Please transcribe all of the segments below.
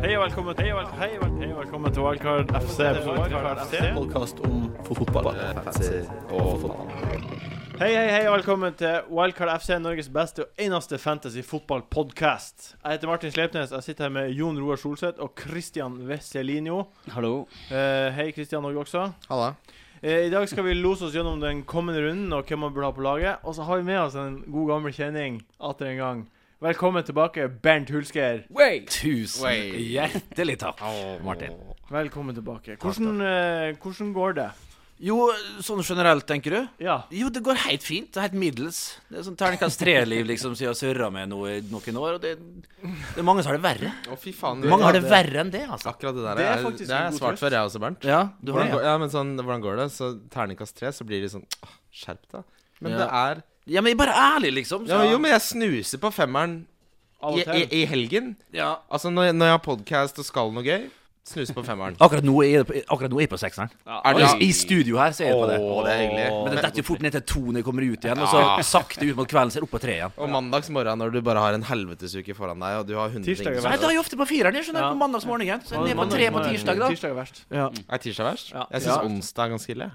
Hei og velkommen til Hei og vel- hei og velkommen til Wildcard FC. Wildcard FC. podkast om fotball. Eh, Og fotball. Hei, hei, hei og velkommen til Wildcard FC, Norges beste og eneste fantasy-fotball-podkast. Jeg heter Martin Sleipnes. Jeg sitter her med Jon Roar Solseth og Christian Veselinho. Hallo. Eh, hei, Christian og også. Halla. Eh, I dag skal vi lose oss gjennom den kommende runden og hvem man burde ha på laget. Og så har vi med oss en god gammel kjenning atter en gang. Velkommen tilbake, Bernt Hulsker. Tusen Wey. hjertelig takk, Martin. Velkommen tilbake. Hvordan, eh, hvordan går det? Jo, sånn generelt, tenker du? Ja. Jo, det går helt fint. Det er helt middels. Det er sånn terningkast tre-liv, liksom, siden jeg har surra med noe i noen år. Og det, det er mange som har det verre. Å, fy faen. Mange har det det- verre enn det, altså. Akkurat det der Det er er, faktisk det en er god svart trøst. for jeg også, Bernt. Ja, du har Hvordan går, det. ja, men sånn, hvordan går det? Så terningkast tre, så blir de sånn «Åh, Skjerp deg. Men Ja. det er Ja, men bare ærlig, liksom. ja, men Jo, men jeg snuser på femmeren Av i, og i, til. i helgen. Ja. Altså når, jeg- når jeg har podkast og skal noe gøy, snuser på femmeren. Akkurat nå er, det på, akkurat nå er jeg på sekseren. Er det- I, I studio her så er jeg på det. Åh, det er hyggelig. Men det detter jo fort ned til to når jeg kommer ut igjen, og så sakte ut mot kvelden så er jeg oppe på tre igjen. Og mandags morgen når du bare har en helvetesuke foran deg, og du har 100 ting Tirsdag er som- Nei, da er jeg ofte på fireren, jeg skjønner. Ja. På mandagsmorgenen. Så er jeg ned på Mandag- tre på tirsdag, da. Tirsdag er verst. Er tirsdag verst? Ja. Jeg syns Ja. onsdag er ganske ille.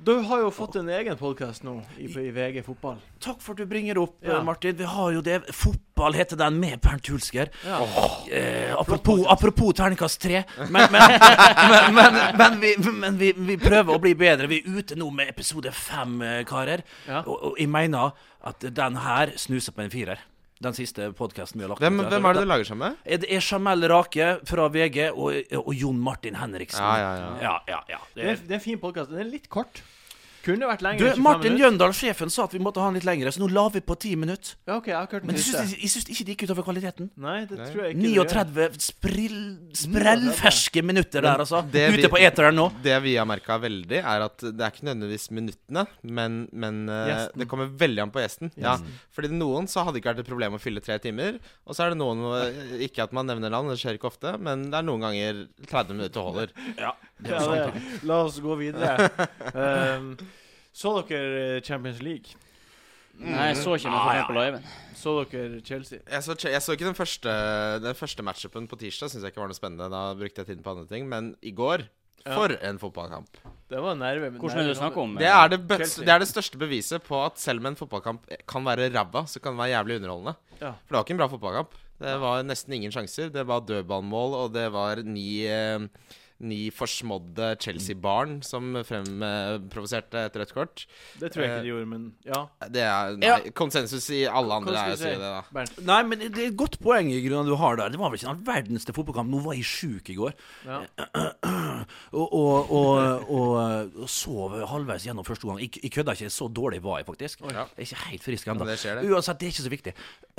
Du har jo fått en egen podkast nå i, i VG fotball. Takk for at du bringer opp, Ja. eh, Martin. Vi har jo det. Fotball heter den med Bernt Hulsker. Ja. Eh, apropos, apropos terningkast tre. Men, men, men, men, men, vi, men vi, vi prøver å bli bedre. Vi er ute nå med episode fem, eh, karer. Ja. Og, og jeg mener at den her snuser på en firer. Den siste podkasten vi har lagt Hvem, ut. hvem er det du lager sammen med? Er Det er Jamel Rake fra VG og, og Jon Martin Henriksen. Ja, ja, ja. ja, ja, ja. Det er, det er en fin podkast. Den er litt kort. Kunne vært Du, lenger. enn 25 Martin minutter. Jøndal, sjefen, sa at vi måtte ha den litt lengre, så nå la vi på ti minutter. Ja, OK, jeg har ikke hørt den Men jeg syns, siste. jeg syns ikke det gikk utover kvaliteten. Nei, det Nei. tror jeg ikke. det gjør. 39 sprill, sprellferske minutter der, altså. det vi- Ute på eteren nå. Det vi har merka veldig, er at det er ikke nødvendigvis minuttene, men, men eh, Gjesten. det kommer veldig an på gjesten. Ja. Fordi noen så hadde det ikke vært et problem å fylle tre timer. Og så er det noen eh, Ikke at man nevner land, det skjer ikke ofte, men det er noen ganger 30 minutter holder. er Ja, det, la oss gå videre. Ehm, så dere eh, Champions League? Mm. Nei, jeg så ikke noe Ah, fra ja. det på liven. Så dere Chelsea? Jeg så, jeg så ikke den første, den første matchupen på tirsdag, syns jeg ikke var noe spennende. Da brukte jeg tiden på andre ting. Men i går Ja. for en fotballkamp. Det var nerve. Hvordan er det du snakker om? Det er det, bøts, Chelsea. det er det største beviset på at selv om en fotballkamp kan være ræva, så kan den være jævlig underholdende. Ja. For det var ikke en bra fotballkamp. Det var nesten ingen sjanser. Det var dødballmål, og det var ni, eh, ni forsmådde Chelsea-barn som fremprovoserte et rødt kort. Det tror jeg Eh, ikke de gjorde, men ja. Det er nei, Ja. konsensus i alle andre Hva er å si skal vi det, da. Bernt. Nei, men det er et godt poeng i grunnen du har der. Det var vel ikke den verdens til fotballkamp. Nå var jeg sjuk i går. Ja. Og, og, og, og, og sov halvveis gjennom første gang. Jeg, jeg kødda ikke. Så dårlig var jeg faktisk. Ja. Jeg er ikke helt frisk Men ennå. det skjer, det. Uansett, det er ikke så viktig.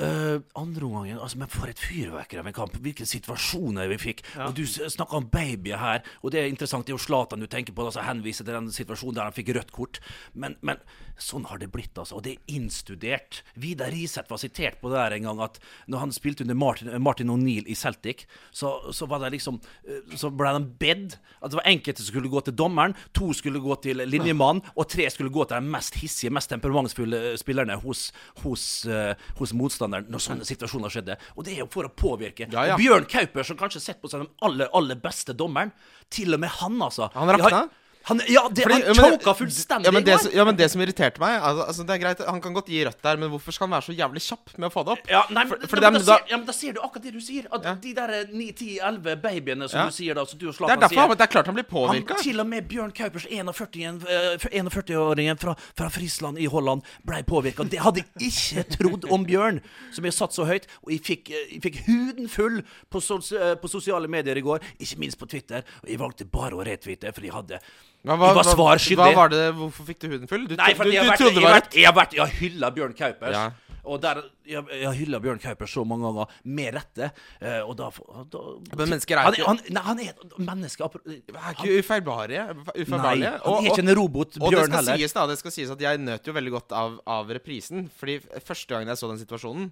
Eh, andre omgangen altså, Men for et fyrverkeri av en kamp. Hvilke situasjoner vi fikk. Og Du snakka om babyer her, og det er interessant. Det er jo Zlatan du tenker på, altså, henviser til den situasjonen der han fikk rødt kort. Men, men sånn har det blitt, altså. Og det er innstudert. Vidar Riseth var sitert på det der en gang, at når han spilte under Martin, eh, Martin O'Neill i Celtic, så, så var det liksom eh, Så ble de bedt at det var enkelte som skulle gå til dommeren, to skulle gå til linjemannen, og tre skulle gå til de mest hissige, mest temperamentsfulle eh, spillerne hos, hos, eh, hos motstanderen når sånne situasjoner skjedde. Og det er jo for å påvirke. Ja, ja. Og Bjørn Kauper, som kanskje har sett på seg den aller, aller beste dommeren, til og med han, altså Han rakna. Ja, Han, ja, det, Fordi- han men- choka fullstendig. ja, men det, i går. som- ja, men det som irriterte meg altså, altså, Det er greit, Han kan godt gi rødt der, men hvorfor skal han være så jævlig kjapp med å få det opp? Ja, nei, men, for da, dem men da, da- ser, ja, men da ser du akkurat det du sier. At Ja. de der eh, 9-10-11 babyene som Ja. du sier da, som du og Det er Zlatan derfor sier han, det er klart han blir han, påvirka. Til og med Bjørn Kaupers 41-åringen eh, 41-åringen fra, fra Frisland i Holland ble påvirka. Det hadde jeg ikke trodd om Bjørn, som jeg satt så høyt. Og jeg fikk, eh, jeg fikk huden full på, sos, eh, på sosiale medier i går, ikke minst på Twitter. Og jeg valgte bare å retweete, for jeg hadde Hva, Jeg var svar skyldig. hva var det, hvorfor fikk du huden full? Du, Nei, for du, jeg har du vært, trodde jeg det har var vært, jeg har vært, jeg har hylla Bjørn Kaupers. Ja. Og der, jeg, jeg har hylla Bjørn Kaupers så mange ganger, med rette. eh, Og da, da Men mennesker er han, ikke- han, nei, han er et menneske apro- Er ikke ufeilbarlige? Nei, ufeilbarlige. han er ikke en robot, og det Bjørn skal, heller. sies, da, det skal sies at jeg nøt jo veldig godt av, av reprisen. Fordi f- første gangen jeg så den situasjonen,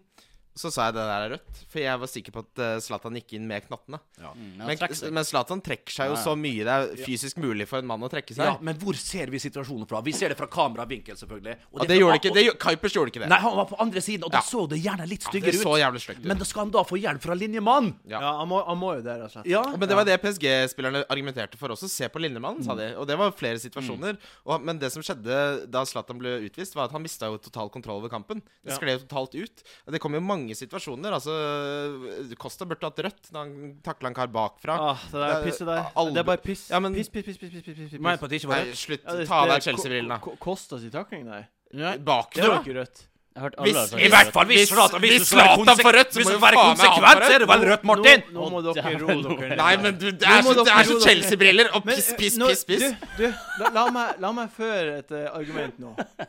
så sa jeg det der er rødt. For jeg var sikker på at eh, Zlatan gikk inn med knottene. Mm, han Men trekker seg. men Zlatan trekker seg jo Ja, ja. så mye det er fysisk mulig for en mann å trekke seg. Ja, men hvor ser vi situasjonen fra? Vi ser det fra kameravinkel, selvfølgelig. Og Og det gjorde ikke det, gjorde- Kuipers gjorde ikke det. Nei, han var på andre siden, og da Ja. så det gjerne litt det styggere så ut. jævlig stygt ut. Men da skal han da få hjelp fra linjemann! Ja. Ja, han må, han må jo altså. det, rett og slett. Ja. Og- Men det var det PSG-spillerne argumenterte for også. Se på Lindemann, sa de. Og det var flere situasjoner. Og, men det som skjedde da Zlatan ble utvist, var at han mista jo total kontroll over kampen. Det Ja. skled jo totalt ut. Og Det kom jo mange situasjoner. Altså, Costa burde hatt rødt da han takla en kar bakfra. Ah, det der Det er- pisset der. aldri- Det er bare piss. Ja, men- piss, piss, piss, piss, piss, piss, piss, piss. Mener på at det ikke var Nei, rødt. slutt. Ja, det- Ta av det- deg Chelsea-brillene. Ko- Ko- Kostas i takling, nei. Det var Bakfra? ikke rødt. Jeg har hørt Hvis- alle har sagt I det. hvert fall hvis Hvis- Zlatan hvis Zlatan får rødt, så Hvis må det jo være faen meg han få konsekvent, rødt. så er det vel rødt, Martin! Nå, nå må Å, dere dæven, roe dere Håkon. ned. Nei, men du, det Nå er må så, det dere er roe så dere. Chelsea-briller! Og Men, piss, eh, piss, nå- piss, piss. Du, du la, la, meg, la meg føre et eh, argument nå.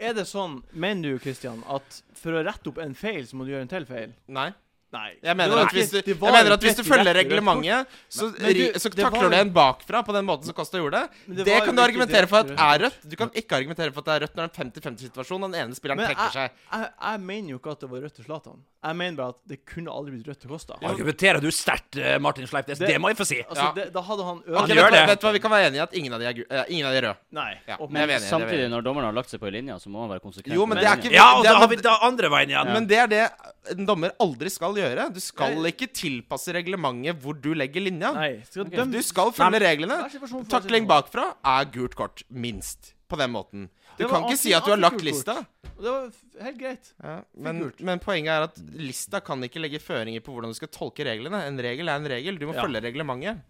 Er det sånn, mener du, Christian, at for å rette opp en feil, så må du gjøre en til feil? Nei. Nei. Jeg mener, Det var at hvis du, ikke- det jeg var mener jo at hvis du rett i følger rett, rett reglementet, så, Men du, ri- så det takler var du jo- en bakfra på den måten som Kosta gjorde Men det. det Det var jo kan du rett i argumentere rett, for at rett. er rødt. Du kan ikke argumentere for at det er rødt når det er en 50-50-situasjon. Den ene spilleren Men trekker seg. Jeg, jeg mener jo ikke at det var rødt til Zlatan. Jeg mener bare at det kunne aldri blitt rødt til Kosta. Altså, Argumenterer du sterkt, eh, Martin Sleipnes? Det- Det må jeg få si. Ja. det, da hadde han Ok, ødelagt gjør vet, du hva- det. vet du hva, Vi kan være enige i at ingen av de er, gu- eh, ingen av de er røde. Nei. Ja, Og- men jeg Men er enig, jeg er samtidig, enig. når dommeren har lagt seg på ei linje, så må han være konsekvent. Jo, men med det er linjen. ikke Ja, og det da er- har vi da andre veien igjen. Men det er det en dommer aldri skal gjøre. Du skal Nei. ikke tilpasse reglementet hvor du legger linja. Nei. Skal Ok. dømme Du skal følge reglene. Vær situasjon for Takling situasjon. bakfra er gult kort. Minst. På den måten. Du Det var kan ikke si anti- at du har lagt antigult kort. lista. Og Det var f- helt greit. Ja, men, Figurt. men poenget er at lista kan ikke legge føringer på hvordan du skal tolke reglene. En regel er en regel. Du må Ja. følge reglementet.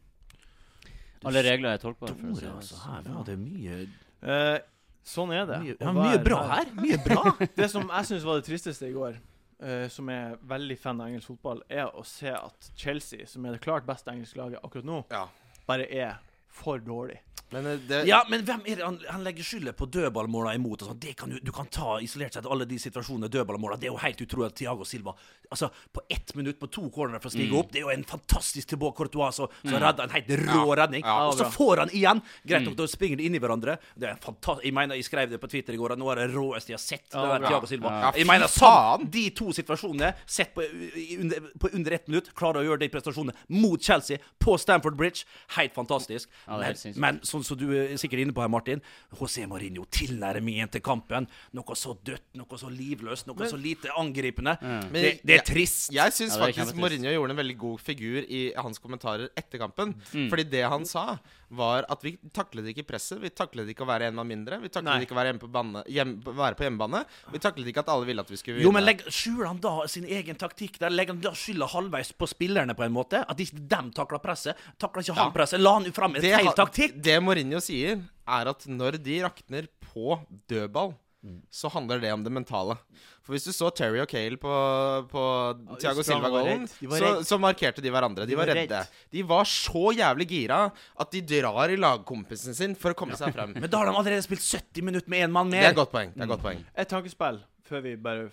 Alle regler er tolkbare. for å si Store, det. altså. Her var det mye, Eh, sånn er det. mye, å ja, mye være bra her. her. Mye bra. Det som jeg syns var det tristeste i går, eh, som er veldig fan av engelsk fotball, er å se at Chelsea, som er det klart beste engelske laget akkurat nå, Ja. bare er for dårlig. Men eh, det Ja, men hvem er det han, han legger skylda på dødballmåla imot? Og sånn. det kan du, du kan ta isolert sett alle de situasjonene dødballmåla. Det er jo helt utrolig at Thiago Silva Altså, på ett minutt på to cornerer for å Mm. stige opp, det er jo en fantastisk tilbake Courtois som som redder en helt rå redning. Ja, Mm. og så får han igjen! Greit nok, da springer de inn i hverandre. Det er fantastisk Jeg mener, jeg skrev det på Twitter i går, at nå er det råeste jeg har sett. det der Thiago Silva. Ja, fy Jeg mener, sånn- sam, faen! de to situasjonene, sett på, i- under, på under ett minutt, klarer å gjøre de prestasjonene mot Chelsea på Stamford Bridge. Helt fantastisk. Ja, det er helt sinnssykt. men, men sånn som du er sikkert inne på her, Martin. José Mourinho tilnærmingen til kampen. Noe så dødt, noe så livløst, noe så lite angripende. Det, Men- det er trist. Jeg syns Ja, det er faktisk kjempetrist. Mourinho gjorde en veldig god figur i hans kommentarer etter kampen. Fordi det han sa, var at vi taklet ikke presset. Vi taklet ikke å være en mann mindre. Vi taklet Nei. ikke å være, hjemme på bane, hjem, være på hjemmebane. Vi taklet ikke at alle ville at vi skulle vinne. Jo, men legg, Skjuler han da sin egen taktikk? der Legger han da skylda halvveis på spillerne? på en måte At ikke dem takla presset? Takla ikke han presset? La han jo fram en det, feil ha- taktikk? det Mourinho sier, er at når de rakner på dødball Mm. så handler det om det mentale. For hvis du så Terry og Cale på, på de Thiago sprang og var Silva-gården, redd. De var så, redd. så markerte de hverandre. De, var var redde. redd. De var så jævlig gira at de drar i lagkompisen sin for å komme seg frem. Men da har de allerede spilt 70 minutter med én mann Det er mer. et godt poeng. Det er et godt poeng. Et tankespill før vi bare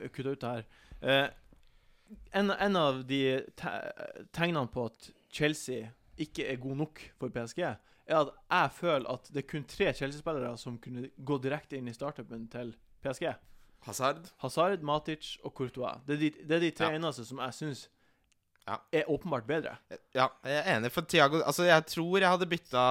eh, kutter ut det her. Eh, en, en av de te tegnene på at Chelsea ikke er god nok for PSG, er at jeg føler at det er kun tre Chelsea-spillere som kunne gå direkte inn i startupen til PSG. Hazard. Hazard, Matic og Courtois. Det er de, det er de tre Ja. eneste som jeg syns Ja. er åpenbart bedre. Ja, jeg er enig. For Thiago Altså, jeg tror jeg hadde bytta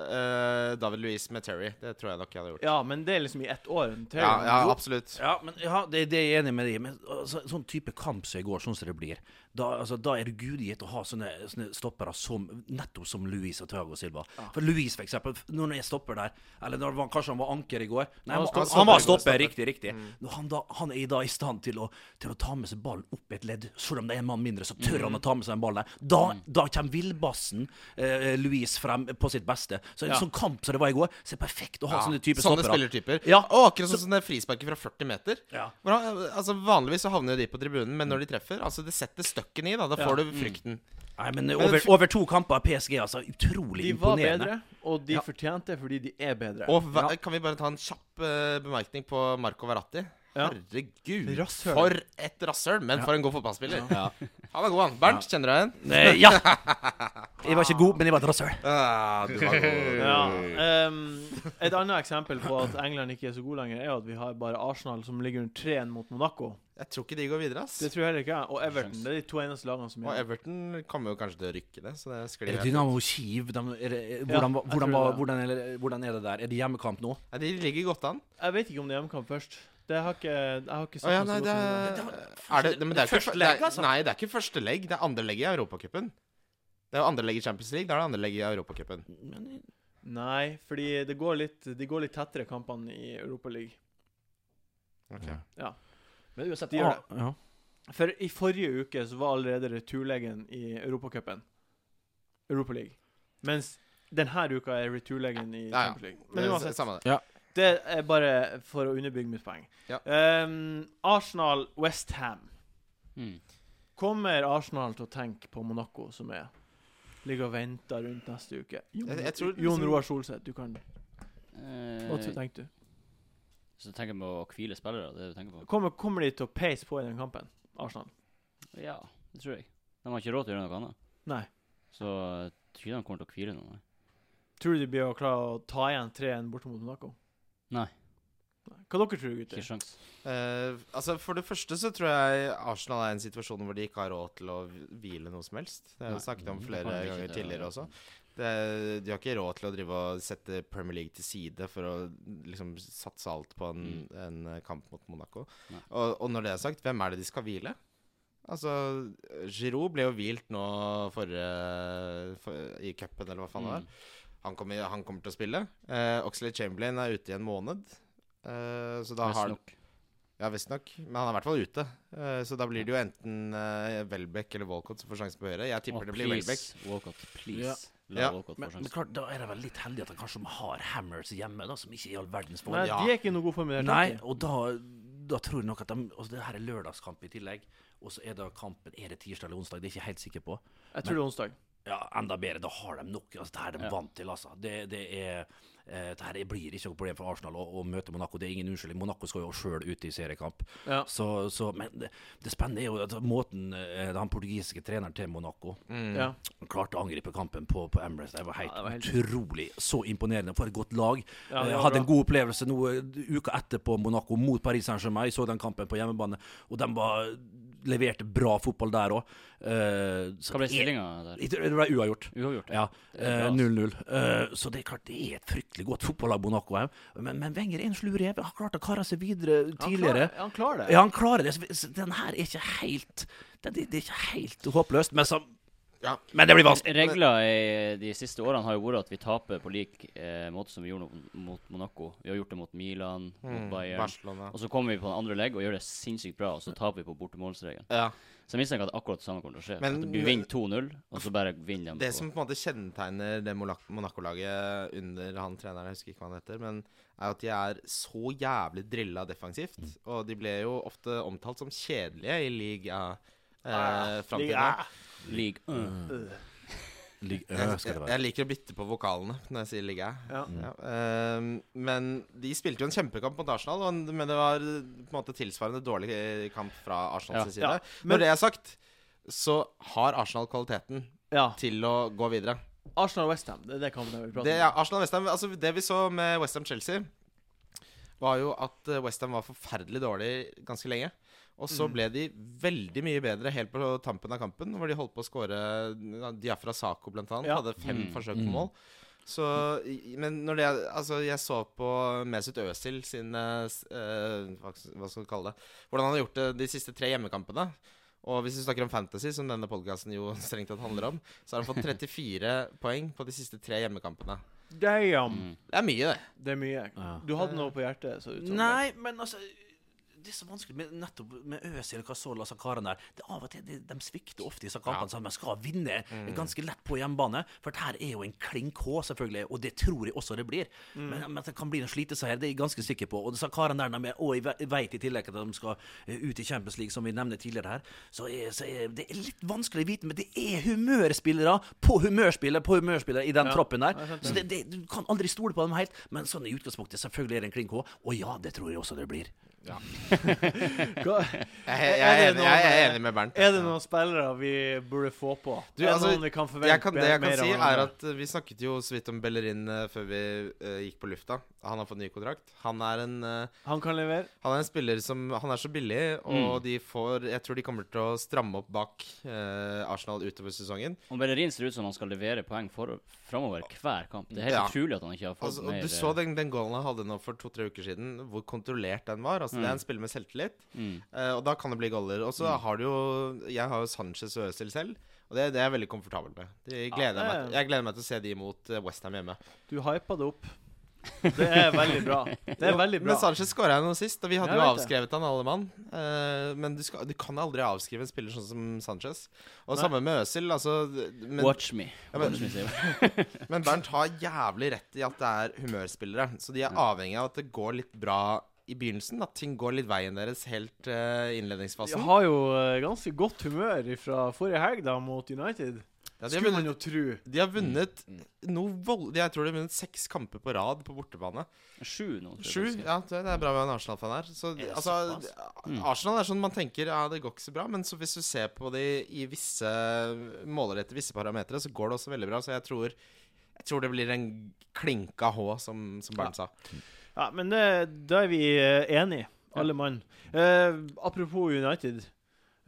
eh, David Luiz med Terry. Det tror jeg nok jeg hadde gjort. Ja, men det er liksom i ett år. en Ja, trening. ja Jo. absolutt. Ja, men, ja det, det er jeg enig med deg i. Men altså, sånn type kamp som i går, sånn som det blir, da, altså, da er det gudgitt å ha sånne, sånne stoppere som nettopp som Luis og Thiago Silva. For Luis, for eksempel, når han er stopper der Eller når han, kanskje han var anker i går. Nei, han, Han var han, stopper. han var stopper, Stopper, stopper. riktig, riktig. Når han, da, han er da i stand til å, til å ta med seg ballen opp i et ledd, selv om det er en mann mindre, så tør han å ta med seg en ball der. Da, da kommer villbassen eh, Luis frem på sitt beste. Så en Ja. sånn kamp som det var i går, så er det perfekt å ha sånne type sånne stoppere. spillertyper. Ja. Og akkurat sånn som det frisparket fra 40 meter. Ja. Hvor han, altså Vanligvis så havner jo de på tribunen, men når de treffer Altså Det setter støkken i, da. Da får du Mm. frykten. Nei, men over, over to kamper er PSG altså utrolig De var imponerende. bedre, og de fortjente det fordi de er bedre. Og hva, kan vi bare ta en kjapp eh, bemerkning på Marco Verratti? Ja. Herregud, Rasshøl. for et rasshøl! Men for en god fotballspiller. Han er god, han. Bernt, kjenner du deg igjen? Eh, ja! Jeg var ikke god, men jeg var et rasshøl. Ah, du var god. Ja, ehm, Et annet eksempel på at England ikke er så god lenger, er jo at vi har bare Arsenal som ligger under 3-1 mot Monaco. Jeg tror ikke de går videre, ass. Det tror jeg heller ikke jeg. Og Everton. Det er de to eneste lagene som Og gjør det. Everton kommer jo kanskje til å rykke det, så det sklir Er det helt ut. Dynamo Kiev? De, er det, hvordan, Ja, hvordan, jeg tror hvordan, det. hvordan, er- hvordan er det der? Er det hjemmekamp nå? Nei, De ligger godt an. Jeg vet ikke om det er hjemmekamp først. Det har ikke, jeg har ikke Å ja, noe Sånn nei, så godt om det er, det var- er det, nei, men det er ikke, Første det legg, er, altså. Nei, det er ikke første legg. Det er andre legg i Europacupen. Det er jo andre legg i Champions League. Da er det andre legg i Europacupen. Men, Nei, fordi det går litt, de går litt tettere kampene i Europaligaen. Men uansett, De gjør ah, det. ja. For i forrige uke så var allerede returlegen i Europacupen. Europaligaen. Mens denne uka er returlegen i Ja, ja. Champions League. Men uansett. Eh, Samme det. Det er bare for å underbygge mitt poeng. Ja. Um, Arsenal Westham. mm. Kommer Arsenal til å tenke på Monaco, som er ligger og venter rundt neste uke? Jon, Jeg- jeg tror Jon liksom- Roar Solseth, du kan Hva eh, tenker du? Så tenker jeg på å hvile spillere. Det er det du tenker på. Kommer, kommer de til å peise på i den kampen, Arsenal? Ja, det tror jeg. De har ikke råd til å gjøre noe annet. Nei. Så jeg tror ikke de kommer til å hvile noe. nei. Tror du de blir å klare å ta igjen 3-1 borte mot Monaco? Nei. Nei. Hva dere tror Ikke gutter? sjans. Eh, altså For det første så tror jeg Arsenal er i en situasjon hvor de ikke har råd til å hvile noe som helst. Det har Nei. jeg snakket Mm, om Det flere kommer de ikke ganger til å tidligere gjøre. også. Det, de har ikke råd til å drive og sette Premier League til side for å liksom satse alt på en, en eh, kamp mot Monaco. Mm. Nei. Og, og når det er sagt, hvem er det de skal hvile? Altså, Giroud ble jo hvilt nå forrige for, i cupen, eller hva faen det var. Mm. Han kommer, han kommer til å spille. Uh, Oxley Chamberlain er ute i en måned. Eh, så da har, Visstnok. ja, visstnok. Men han er i hvert fall ute. Eh, Så da blir det jo enten eh, Welbeck eller Walcott som får sjansen på høyre. Jeg Å, tipper det blir please, Welbeck. Walcott, please. Ja. La Ja. Walcott få men, men sjansen. klart, da er de vel litt heldige at de kanskje har Hammers hjemme, da, som ikke er i all verdens form. Nei, ja. de er ikke i noe god form i det hele Nei, tatt. og da, da tror jeg nok at de altså, Det her er lørdagskamp i tillegg, og så er da kampen Er det tirsdag eller onsdag? Det er jeg ikke helt sikker på. Jeg tror det er onsdag. Ja, Enda bedre, da har de nok. Altså, det her er de Ja. vant til, altså. Det, det er eh, det her blir ikke noe problem for Arsenal å, å møte Monaco. Det er ingen unnskyldning. Monaco skal jo sjøl ut i seriekamp. Ja. Så, så, men det, det spennende er jo at måten eh, den portugisiske treneren til Monaco Mm. Ja. klarte å angripe kampen på, på Emirates. Det var helt, Ja, det var helt- utrolig. Så imponerende for et godt lag. Ja, det Eh, var bra. hadde en god opplevelse nå eh, uka etterpå Monaco mot Paris Saint-Germain. Jeg Så den kampen på hjemmebane, og de var, leverte bra fotball der òg. Hva ble stillinga der? Det ble uavgjort. Uavgjort. Ja, Det er bra, eh, altså. 0-0. Eh, Så det er klart det er et fryktelig godt fotballag Monaco er. Men, men Wenger er en slu rev. Har klart å kare seg videre Han tidligere. klarer, han klarer det. Ja, han klarer det. Så- så Den her er ikke helt den- Det det er ikke helt håpløst, men, så, Ja. men det blir vanskelig. Regler i de siste årene har jo vært at vi taper på lik eh, måte som vi gjorde no- mot Monaco. Vi har gjort det mot Milan, mot Mm, Bayern. Barcelona. Og så kommer vi på den andre legg og gjør det sinnssykt bra, og så taper vi på bortemålsregelen. Ja. Så jeg mistenker at akkurat det samme kommer til å skje. Men- at vi vinner 2-0, og så bare vinner de Det på som på en måte kjennetegner det Monac- Monaco-laget under han treneren, jeg husker ikke hva han heter, men er at de er så jævlig drilla defensivt. Og de ble jo ofte omtalt som kjedelige i liga Ah, eh, fram til nå. Ja. league. Mm. Lig- øh, Jeg, skal det jeg, være. jeg liker å bytte på vokalene når jeg sier 'ligge'. Ja. Ja, ehm, men de spilte jo en kjempekamp mot Arsenal, og, men det var på en måte tilsvarende dårlig eh, kamp fra Ja. Arsenals side. Ja, men- Når det er sagt, så har Arsenal kvaliteten ja. til å gå videre. Arsenal Westham, det er det kampen jeg vil prate Det, om. ja, Arsenal Westham, altså det vi så med Westham Chelsea, var jo at eh, Westham var forferdelig dårlig ganske lenge. Og så Mm. ble de veldig mye bedre helt på tampen av kampen, hvor de holdt på å skåre ja, Diafra Sako, blant annet. Ja. Hadde fem Mm. forsøk på mål. Så, i- men når det er- Altså, jeg så på Mesut Özil sin eh, s- eh, Hva hva skal vi kalle det? Hvordan han har gjort det de siste tre hjemmekampene. Og hvis vi snakker om fantasy, som denne podkasten jo strengt tatt handler om, så har han fått 34 poeng på de siste tre hjemmekampene. Damn! Mm. Det er mye, det. Det er mye. Ja. Du hadde noe på hjertet? Så ut som Nei, men altså det er så vanskelig med nettopp med Øzil, Casola, Sakaren der. Det er av og til, de, de svikter ofte i disse kampene, så man skal vinne ganske lett på hjemmebane. For det her er jo en klin K, selvfølgelig, og det tror jeg også det blir. Men, men at det kan bli en sliteseier, det er jeg ganske sikker på. Og disse karene der, de er, og jeg ve- jeg vet i tillegg at de skal eh, ut i Champions League, som vi nevnte tidligere her, så, er, så er, det er litt vanskelig å vite, men det er humørspillere på humørspillere på humørspillere i den troppen der. Så det, det, du kan aldri stole på dem helt. Men sånn i utgangspunktet, selvfølgelig er det en klin K. Og ja, det tror jeg også det blir. Hva, Jeg, jeg, Er er, det enig, jeg er noen- enig med Bernt. altså. er det noen spillere vi burde få på? Du, er det altså, noen vi kan forvente jeg kan, det jeg kan mer si, av er hverandre? at eh, vi snakket jo så vidt om Bellerin eh, før vi eh, gikk på lufta. Han har fått ny kontrakt. Han er en, eh, Han kan levere. han er en spiller som Han er så billig, Mm. og de får Jeg tror de kommer til å stramme opp bak eh, Arsenal utover sesongen. Og Bellerin ser ut som han skal levere poeng for, framover hver kamp. Det er helt Ja. utrolig at han ikke har fått Altså, og mer du eh, så den, den goalen han hadde nå for to-tre uker siden, hvor kontrollert den var. Altså, Det Mm. er en spiller med selvtillit, Mm. eh, og da kan det bli goller. Og Mm. så har du jo Jeg har jo Sanchez og Øzil selv, og det, det er jeg veldig komfortabel med. De Ja, gleder jeg, meg, det- til- jeg gleder meg til å se de mot eh, West Ham hjemme. Du hypa det opp. Det er veldig bra. Det er veldig Men bra. Sanchez skåra jo nå sist, og vi hadde Jeg jo vet avskrevet han alle mann. Eh, men du, skal, du kan aldri avskrive en spiller sånn som Sanchez. Og Nei. samme med Øzil. Altså, men, Watch me. Ja, men- Watch me, sier jeg. men Bernt har jævlig rett i at det er humørspillere. Så de er Mm. avhengig av at det går litt bra i begynnelsen. At ting går litt veien deres helt eh, i Jeg innledningsfasen. har jo eh, ganske godt humør fra forrige helg da mot United. Ja, de, har Skulle man vunnet, jo tro. de har vunnet noe vold... Jeg tror de har vunnet seks kamper på rad på bortebane. Sju nå. tror jeg Sju? faktisk. Ja, det det er bra med en Arsenal-fan her. Så, det altså, Mm. Arsenal er sånn man tenker ja, det går ikke så bra, men så hvis du ser på de i visse måler etter visse parametere, så går det også veldig bra. Så jeg tror, jeg tror det blir en klinka H, som, som Bernt sa. Ja, men det, da er vi eh, enige, alle mann. Eh, apropos United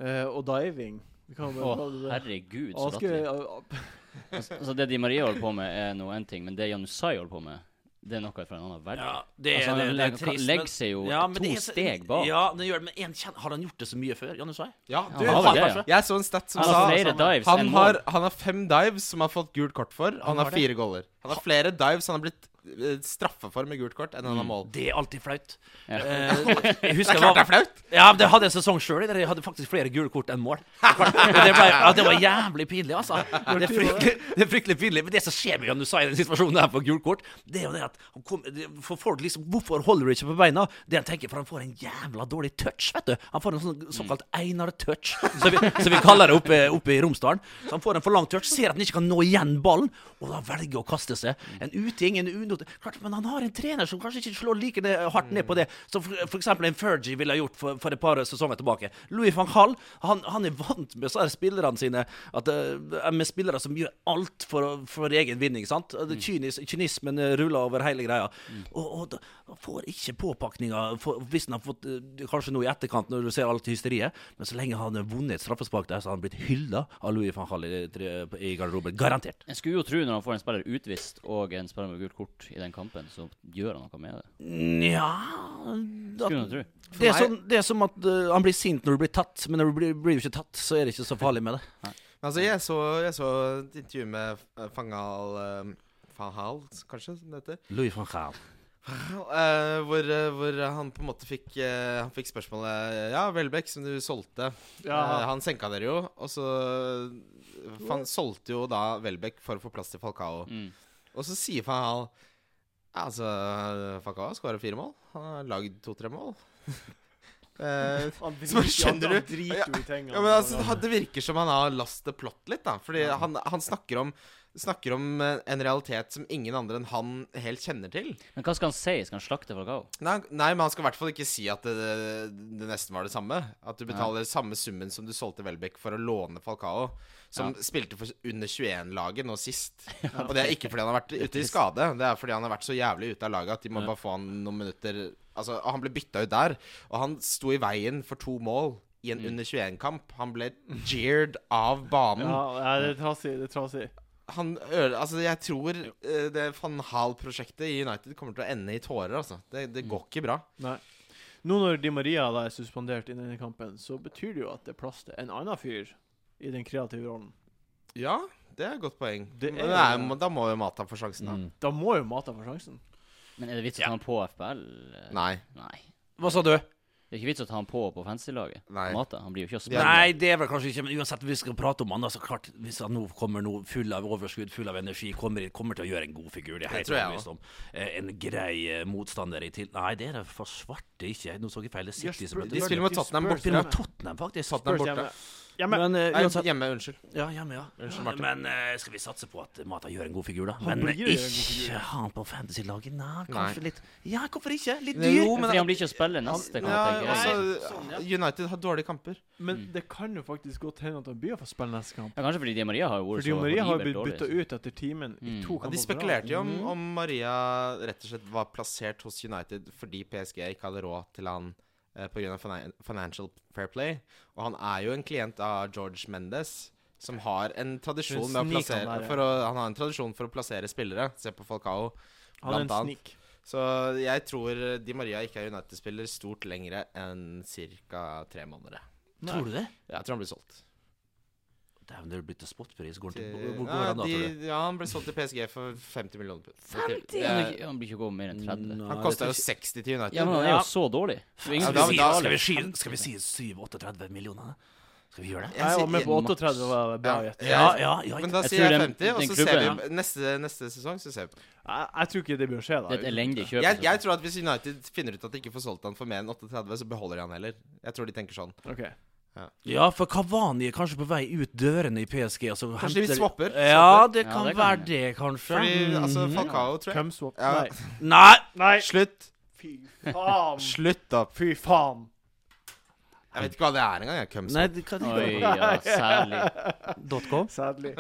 eh, og diving. Vi kan jo Å, bare ta det. herregud, så Asker, latterlig. ja, ja, Altså, det Di Maria holder på med, er nå én ting, men det Janusai holder på med, det er noe fra en annen verden. Ja, altså, det, det, han det er legger- trist. legger seg jo men to det er så- steg bak. Ja, det gjør det, men en, kjen- har han gjort det så mye før? Janne Svei? Ja, Ja, du, han har vel det, ja. jeg så en stat som Han har sa flere dives han enn har, mål. han har fem dives som har fått gult kort for, og han, har har det. fire goller. Han har flere dives han har blitt eh, straffa for med gult kort, enn han har mål. Det er alltid flaut. Ja. Eh, jeg Det husker er jeg var- klart det er flaut! Ja, men det hadde en sesong sjøl der jeg hadde faktisk flere gule kort enn mål. Det var- Det, ble, ja, det var jævlig pinlig, altså. Det er fryktelig, det er fryktelig pinlig. Men det som skjer med Janusai i den situasjonen her på gult kort, det er jo det at han kom, det- for folk liksom, Hvorfor holder du ikke på beina? Det han tenker, for han får en jævla dårlig touch, vet du. Han får en sånn såkalt Einar-touch, som vi, som vi kaller det oppe, oppe i Romsdalen. Så han får en for lang touch, ser at han ikke kan nå igjen ballen, og da velger å kaste seg. En uting, en unote Klart, men han har en trener som kanskje ikke slår like ned, hardt ned på det, som for, for eksempel en Fergie ville ha gjort for, for et par sesonger tilbake. Louis van Hall han, han er vant med så er spillerne sine at, eh, Med spillere som gjør alt for, for egen vinning. sant? Og det Kynis, kynismen eh, ruller over hele greia. Og, og da- han får ikke påpakninga for, hvis han har fått eh, Kanskje nå i etterkant, når du ser alt hysteriet, men så lenge han har vunnet et straffespark der, så har han blitt hylla av Louis van Hall i, i garderoben. Garantert. Jeg skulle jo tro, når han får en spiller utvist og en spiller med gult kort i den kampen, så gjør han noe med det. Nja da- Skulle man tro. Det er, meg- sånn, det er som at eh, han blir sint når du blir tatt, men når du blir, blir du ikke tatt, så er det ikke så farlig med det. Men altså, jeg så, jeg så et intervju med eh, Fangal eh, Fahal, kanskje, som det heter. Louis van Gaal. Eh, hvor, eh, hvor han på en måte fikk, eh, han fikk spørsmålet eh, Ja, Welbeck, som du solgte. Eh, ja. han senka dere jo, og så for Han solgte jo da Welbeck for å få plass til Falcao. Mm. Og så sier Fahal ja, Altså, Falcao skårer fire mål. Han har lagd to-tre mål. Eh, Han Så driter, bare i- skjønner han du- driter jo i tingene. Ja, men altså, han- Det virker som han har lost the plot litt, da. Fordi han, han snakker om Snakker om eh, en realitet som ingen andre enn han helt kjenner til. Men hva skal han si? Skal han slakte Falcao? Nei, nei men han skal i hvert fall ikke si at det, det nesten var det samme. At du betaler samme summen som du solgte Welbeck for å låne Falcao, som spilte for under 21-laget nå sist. Og det er ikke fordi han har vært ute i skade, det er fordi han har vært så jævlig ute av laget at de må bare få han noen minutter Altså, og han ble bytta ut der, og han sto i veien for to mål i en under 21-kamp. Han ble jeered av banen. ja, nei, det er trasig. Det er trasig. Han øde, Altså, jeg tror eh, det Van Hal-prosjektet i United kommer til å ende i tårer, altså. Det, det går ikke bra. Nei. Nå når Di Maria da er suspendert i denne kampen, så betyr det jo at det er plass til en annen fyr i den kreative rollen. Ja, det er et godt poeng. Det Men er- Mm. det er, da må jo Mata få sjansen, da. Da må jo Mata få sjansen. Men er det vits å ta han på FBL? Nei. Nei. Hva sa du? Det er ikke vits å ta han på på fancy-laget. Nei. Mata, Han blir jo ikke å Ja. spille. Nei, det er vel kanskje ikke, men uansett, vi skal prate om han, da, så klart, hvis han nå kommer nå full av overskudd, full av energi, kommer, inn- kommer til å gjøre en god figur, det er helt tror jeg overbevist om. Eh, en grei eh, motstander i til... Nei, det er det for svarte ikke, nå så jeg feil, det er City som Spurs- blir De spiller mot Tottenham Spurs borte. Spiller hjemme. mot Tottenham, faktisk. Tottenham Spurs borte. hjemme. Hjemme. Men eh, Nei, uansett hjemme, unnskyld. Ja, hjemme, ja. Unnskyld, Ja, Martin. Men eh, skal vi satse på at Mata gjør en god figur, da? Han men blir å gjøre en god figur. ikke han på fantasy-laget. Nei, kanskje litt Ja, hvorfor ikke? Litt Nei, dyr. jo, men- Fordi han blir ikke å spille neste Ja, kamp, tenker jeg. Sånn, altså, United har dårlige kamper. Men det kan jo faktisk godt hende at han blir å få spille neste kamp. Ja, kanskje fordi Di Maria har jo vært Fordi Maria har blitt horribelt bytta dårlig. ut etter timen i Mm. to kamper på Ja, de rad. Mhm. spekulerte jo om, om Maria rett og slett var plassert hos United fordi PSG ikke hadde råd til han eh, pga. Financial Fair Play. Og han er jo en klient av George Mendes, som har en tradisjon En med å snik han plassere der, ja. for å, Han har en tradisjon for å plassere spillere. Se på Falcao. Han er en blant annet. snik. Så jeg tror Di Maria ikke er United-spiller stort lengre enn ca. tre måneder. Tror du det? Jeg tror han blir solgt. Dæven, det er blitt en spotpris. Går han til, Til- hvor- hvor går Nei, han da, tror du? de, ja, han ble solgt til PSG for 50 millioner pund. Det- Han blir ikke- Han blir ikke å gå mer enn 30. Nei, Han kosta jo det 60 til United. Ja, men han er jo så dårlig. Det er jo ingen Ja, som da- skal, vi si, da- skal, vi si, skal vi si 37-38 millioner? Skal vi gjøre det? Jeg var med på jeg- 38, det var bra gjett. Ja. Ja, ja. ja Men da Jeg sier tror jeg den- 50, og den så ser klubben, vi neste, neste sesong. så ser vi på det. Jeg, jeg tror ikke det bør skje, da. Det er et elendig kjøp. altså. jeg, jeg tror at Hvis United finner ut at de ikke får solgt han for mer enn 38, så beholder de han heller. Jeg tror de tenker sånn. Ok. Ja, for Kavani er kanskje på vei ut dørene i PSG. Altså, Kanskje de swapper? Ja, det Ja, kan, det kan være hende. det, kanskje. Fordi altså, Mhm. Falcao, tror jeg Cumswap. Ja. Nei. Nei! Nei. Slutt! Fy faen. Slutt opp. Fy faen. Jeg vet ikke hva det er engang. jeg. Cums. Nei, det kan Oi, ja, særlig. Dot com? Sadly.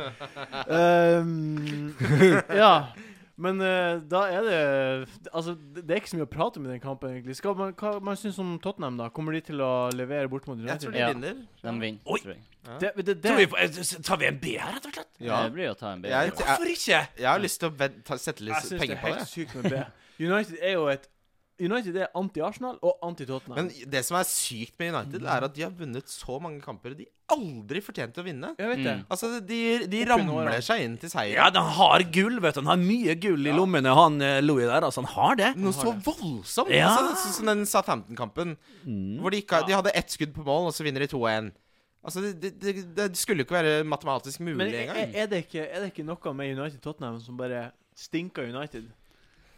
Ehm, ja. Men eh, da er det Altså, det det er ikke så mye å prate om i den kampen, egentlig. Skal man, hva man syns om Tottenham, da? Kommer de til å levere bort mot Jeg tror United? de Ja. vinner. De vinner, Oi. tror jeg. Det, det, det, Tror vi, på- eh, tar vi en B her, rett og slett? Ja. Det blir å ta en bedre. Jeg, jeg, Hvorfor ikke? jeg har lyst til å ved, ta, jeg sette litt syns det penger er på helt det. sykt med B. United er jo et United er anti-Arsenal og anti-Tottenham. Men det som er sykt med United, Mhm. er at de har vunnet så mange kamper de aldri fortjente å vinne. Jeg vet det. Mm. Altså, de, de Opp i nå, ja. ramler seg inn til seier. Ja, de har gull, vet du. Han har mye gull i lommene, han eh, Louis der. Altså, han har det. Noe så voldsomt! Ja. Altså, sånn som den Southampton-kampen. Mhm. Hvor de, ikke, de hadde ett skudd på mål, og så vinner de 2-1. Altså, det, det, det, det skulle jo ikke være matematisk mulig Men eh, er, engang. er, det ikke, er det ikke noe med United-Tottenham som bare stinker United?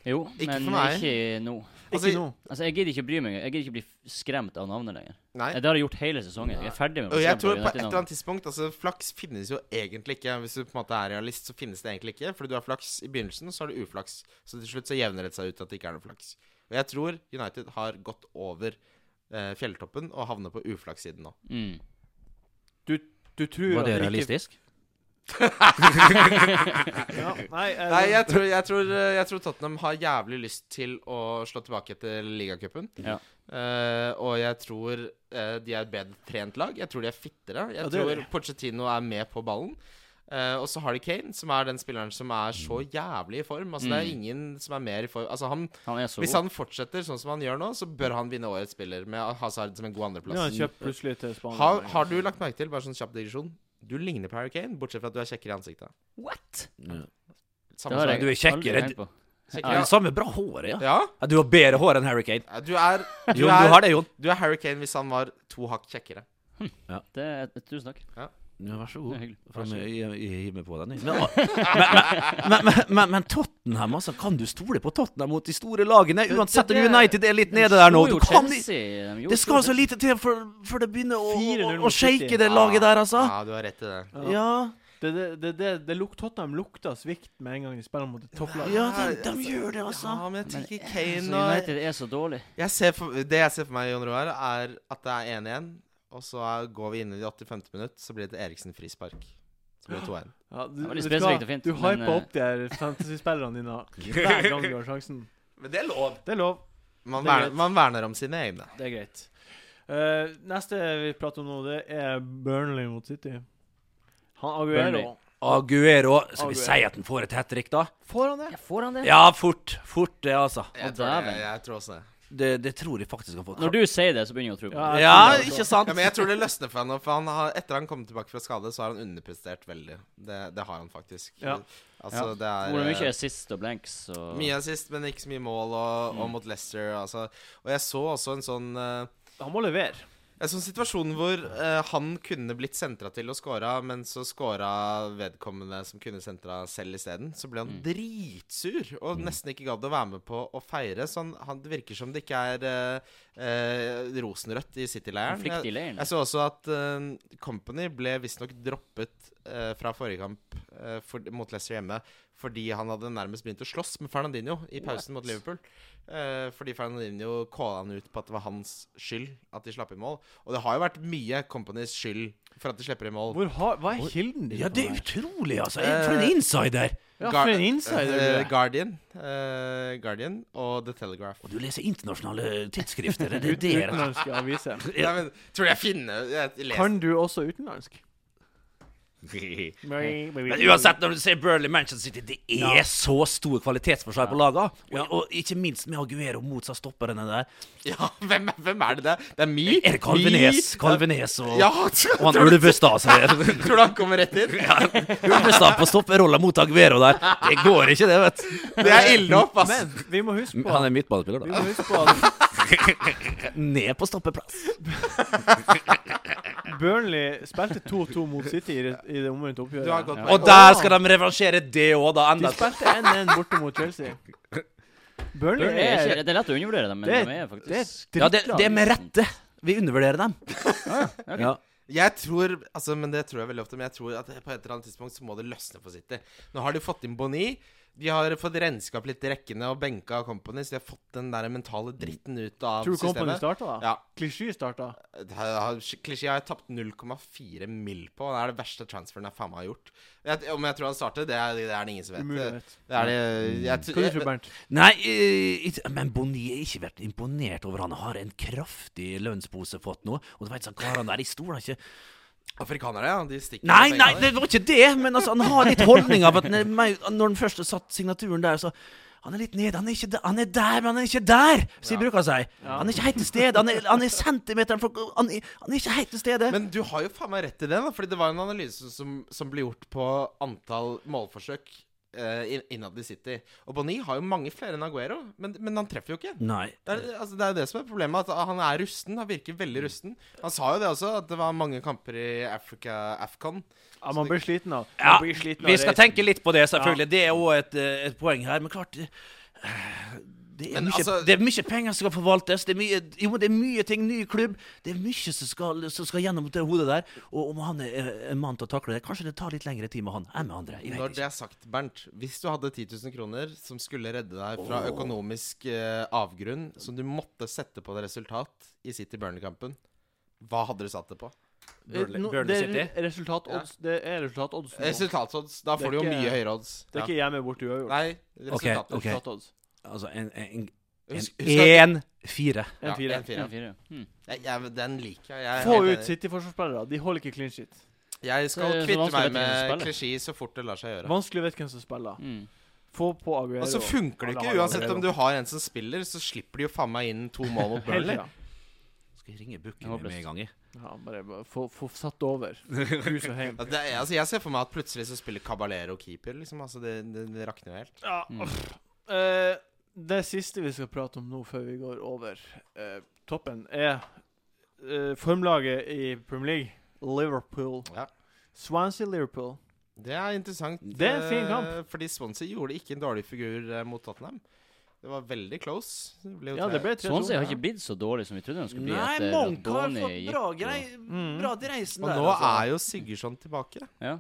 Jo, Ikke men for meg. ikke nå. eh, Ikke Altså, nå. Altså, Jeg gidder ikke bry meg. Jeg gidder ikke bli f- skremt av navnet lenger. Nei. Det har jeg gjort hele sesongen. Jeg er ferdig med å Og bli jeg skremt tror av på et eller United-navnet. annet tidspunkt Altså, flaks finnes jo egentlig ikke. Hvis du på en måte er realist, så finnes det egentlig ikke. Fordi du har flaks i begynnelsen, og så har du uflaks. Så til slutt så jevner det seg ut at det ikke er noe flaks. Og jeg tror United har gått over eh, fjelltoppen og havner på uflakssiden nå. Mm. Du tror at ikke- Ja, nei, eh, Nei, jeg tror, jeg, tror, jeg tror Tottenham har jævlig lyst til å slå tilbake etter ligacupen. Ja. Eh, og jeg tror eh, de er et bedre trent lag. Jeg tror de er fittere. Jeg Ja, det er tror det. Pochettino er med på ballen. Eh, og så har de Kane, som er den spilleren som er så Mm. jævlig i form. Altså Det er ingen som er mer i form Altså han, Han er så Hvis god. han fortsetter sånn som han gjør nå, så bør han vinne årets spiller med Hazard som en Nå god har andreplass. han kjøpt plutselig til Spania. Har, har du lagt merke til, bare sånn kjapp digresjon, du ligner på Harry Kane, bortsett fra at du er kjekkere i ansiktet. What?! Samme har sak. jeg Du er aldri kjekkere. tenkt på. Ja, det samme bra håret, ja. Ja? ja. Du har bedre hår enn Harry Kane. Ja, Du er, du Jon, er, du har det, Jon. du er Harry Kane hvis han var to hakk kjekkere. Det er et- Tusen takk. Ja, vær Det så god. er hyggelig. For meg- Jeg jeg hiver meg på den. jeg. Men, men, men, men, men Tottenham, altså. Kan du stole på Tottenham mot de store lagene? Uansett om det- United er litt nede der nå. Slo Du jo kan ikke Chelsea, de gjorde Det skal jo så lite til før før det begynner å, å, 4-0 å mot City. shake det laget der, altså. Ja, du har rett i det. Ja, Det, det, det, det, det luk, Tottenham lukta svikt med en gang de spiller mot et topplag. ja de, de gjør det, altså. Ja, men jeg Men tenker Så Kane og Altså, United er så dårlig. jeg ser for, Det jeg ser for meg, Jon Roar, er at det er 1-1, og så er, går vi inn i de 85. minutt, så blir det et Eriksen frispark. Så blir det 2-1. Ja, du, Det var litt vet du hva? spesifikt og fint, Du men, hypa eh, opp de her fantasy-spillerne dine hver gang du har sjansen. Men det er lov. Det er lov. Man, Det er verner, greit. man verner om sine egne. Det er greit. Eh, neste vi prater om nå, det er Burnley mot City. Han Aguero Burnley. Aguero, skal Aguero. vi si at han får et hat trick, da? Får han det? Ja, får han det? Ja, fort. Fort, det, altså. Å, Jeg tror, det, dæven. jeg tror også det. Det, det tror jeg faktisk han får. Når du sier det, så begynner jeg å tro på det. jeg Ja, tror det ikke også. sant? Ja, men jeg tror det løsner for han nå, for han har, etter han kom tilbake fra skade, så har han underprestert veldig. Det, det har han faktisk. Ja. Altså, Ja. det er Hvor mye er sist og blanks og Mye assist, men ikke så mye mål, og, og mot Leicester. Altså. Og jeg så også en sånn eh, Han må levere. En sånn situasjon hvor eh, han kunne blitt sentra til og scora, men så scora vedkommende som kunne sentra selv isteden. Så ble han Sånn, dritsur og nesten ikke gadd å være med på å feire. Så han, han, det virker som det ikke er eh, eh, rosenrødt i City-leiren. Konflikt Jeg, i leiren. jeg så også at eh, Company ble visstnok droppet eh, fra forrige kamp eh, for, mot Leicester hjemme fordi han hadde nærmest begynt å slåss med Fernandinho i pausen mot Liverpool. Eh, fordi Fernandinho calla han ut på at det var hans skyld at de slapp i mål. Og det har jo vært mye Companys skyld for at de slipper i mål. Hvor har, hva er kilden din? Ja, på det er her? utrolig, altså! En- For en Eh. insider! ja, Gar- For en insider du eh, er. Guardian, eh, Guardian og The Telegraph. Og du leser internasjonale tidsskrifter, er det det? Utenlandske aviser. Nei, men, tror du jeg finner jeg leser. Kan du også utenlandsk? Men uansett, når du ser Burnley Manchester City, det er så stor kvalitetsforskjell på lagene. Og, og ikke minst med Aguero mot seg stopperne der. Ja, hvem, er- hvem er det det? Det er My. Er det Calvines? Calvines og, Ja, og han tror, Ulvestad som er du- tror du han kommer rett inn? Ulvestad på stopperolla mot Aguero der. Det går ikke, det, vet du. Det er ille opp, ass. Men vi må huske på Han er midtbanespiller, vi da. må huske på at Ned på stoppeplass. Burnley spilte 2-2 mot City i det- i det omvendte oppgjøret. Du har gått Og der skal de revansjere det òg, da. De Enda spilte 1-1 borte mot Chelsea. Burnley Burnley er er ikke, det er lett å undervurdere dem, men Det- de er Det er faktisk Ja, det, drittlag. det er med rette. Vi undervurderer dem. Ja. Jeg tror altså, men det tror jeg veldig ofte, men jeg tror at på et eller annet tidspunkt så må det løsne for City. Nå har de fått inn Boni. De har fått renska opp litt i rekkene og benka Company, så de har fått den der mentale dritten ut av Tror du Company systemet. starta, da? Ja. Klisjé starta. Det har- Klisjé har jeg tapt 0,4 mill. på. Det er det verste transferen jeg faen meg har gjort. Jeg, om jeg tror han starter, det er det, er det ingen som vet. Umulig å vite. Det er det, jeg, Hva du tror du, Bernt? Nei, eh, ikke- men Bonnier har ikke vært imponert over han. Har en kraftig lønnspose fått nå. Og du vet, sånn karene der, de stoler ikke Afrikanere, ja. De stikker Nei, med nei, pengene. det var ikke det! Men altså, han har litt holdning av at når når han først har satt signaturen der, så han er litt nede. Han er, ikke der, han er der, men han er ikke der, sier bruker han seg. Han er ikke helt til stede. Han er, han er centimeteren for han, er- han er ikke helt til stede. Men du har jo faen meg rett i det, da. Fordi det var en analyse som, som ble gjort på antall målforsøk eh, inn- innad i City. Og Boni har jo mange flere enn Aguero, men, men han treffer jo ikke. Nei. Det er, altså, det er jo det som er problemet, at han er rusten. Han virker veldig rusten. Han sa jo det også, at det var mange kamper i Africa Afcon. Ja, man blir sliten av Ja, man blir sliten av vi skal reisen. tenke litt på det, selvfølgelig. Det er òg et, eh, et poeng her. Men klart eh, det er, Men mye, altså- det er mye penger som skal forvaltes. Det er mye, jo, men det er mye ting, ny klubb. Det er mye som skal, som skal gjennom det hodet der. Og om han er eh, en mann til å takle det, kanskje det tar litt lengre tid med han enn med andre. Jeg Når vet det ikke. er sagt, Bernt, hvis du hadde 10 000 kroner som skulle redde deg fra økonomisk eh, avgrunn, som du måtte sette på et resultat i City Burnley-kampen, hva hadde du satt det på? Eh, nå- Burnley det er City. re- resultatodds. Det er resultatodds. nå. Resultatodds. Eh, Da Det er får du jo ikke- mye høyere odds. Det er ikke hjemme borte uavgjort. Nei, resultatodds. ok. Resultatodds. Altså en, en, Husk- en, E, husk at- en 1-4. En Ja, fire. en fire. en fire. Hmm. Jeg- jeg- Den liker jeg. jeg er Få helt ut enig. City-forsvarsspillere. De holder ikke clean shit. Jeg skal Det er så kvitte vanskelig meg å vite hvem som med spiller. klisjé så fort det lar seg gjøre. Vanskelig å vite hvem som spiller. Hmm. Få på Aguero. Og så funker Alle det ikke. har Uansett Aguero. om du har en som spiller, så slipper de jo faen meg inn to mål mot Hele Burnley. tida. Skal jeg ringe Jeg Bukken håper med det. en gang i? Ja, bare, bare få, få satt over. Hus og hjem. Ja, det er, altså, jeg ser for meg at plutselig så spiller Caballero keeper, liksom. Altså, det, det, det rakner jo helt. Ja, uff. Mm. Eh, det siste vi skal prate om nå før vi går over eh, toppen, er eh, formlaget i Premier League, Liverpool. Ja. Swansea-Liverpool. Det er interessant. Det er en fin eh, kamp. Fordi Swansea gjorde ikke en dårlig figur eh, mot Tottenham. Det var veldig close. Det ble jo Ja, det tre- ble 3-2. Swansea Sånn har ikke blitt så dårlig som vi trodde de skulle bli. eh, Nei, etter Monk at har Boni fått gikk bra, og- grei, Mm. bra dreisen Og der. nå altså. er jo Sigurdsson tilbake. Mm. Ja.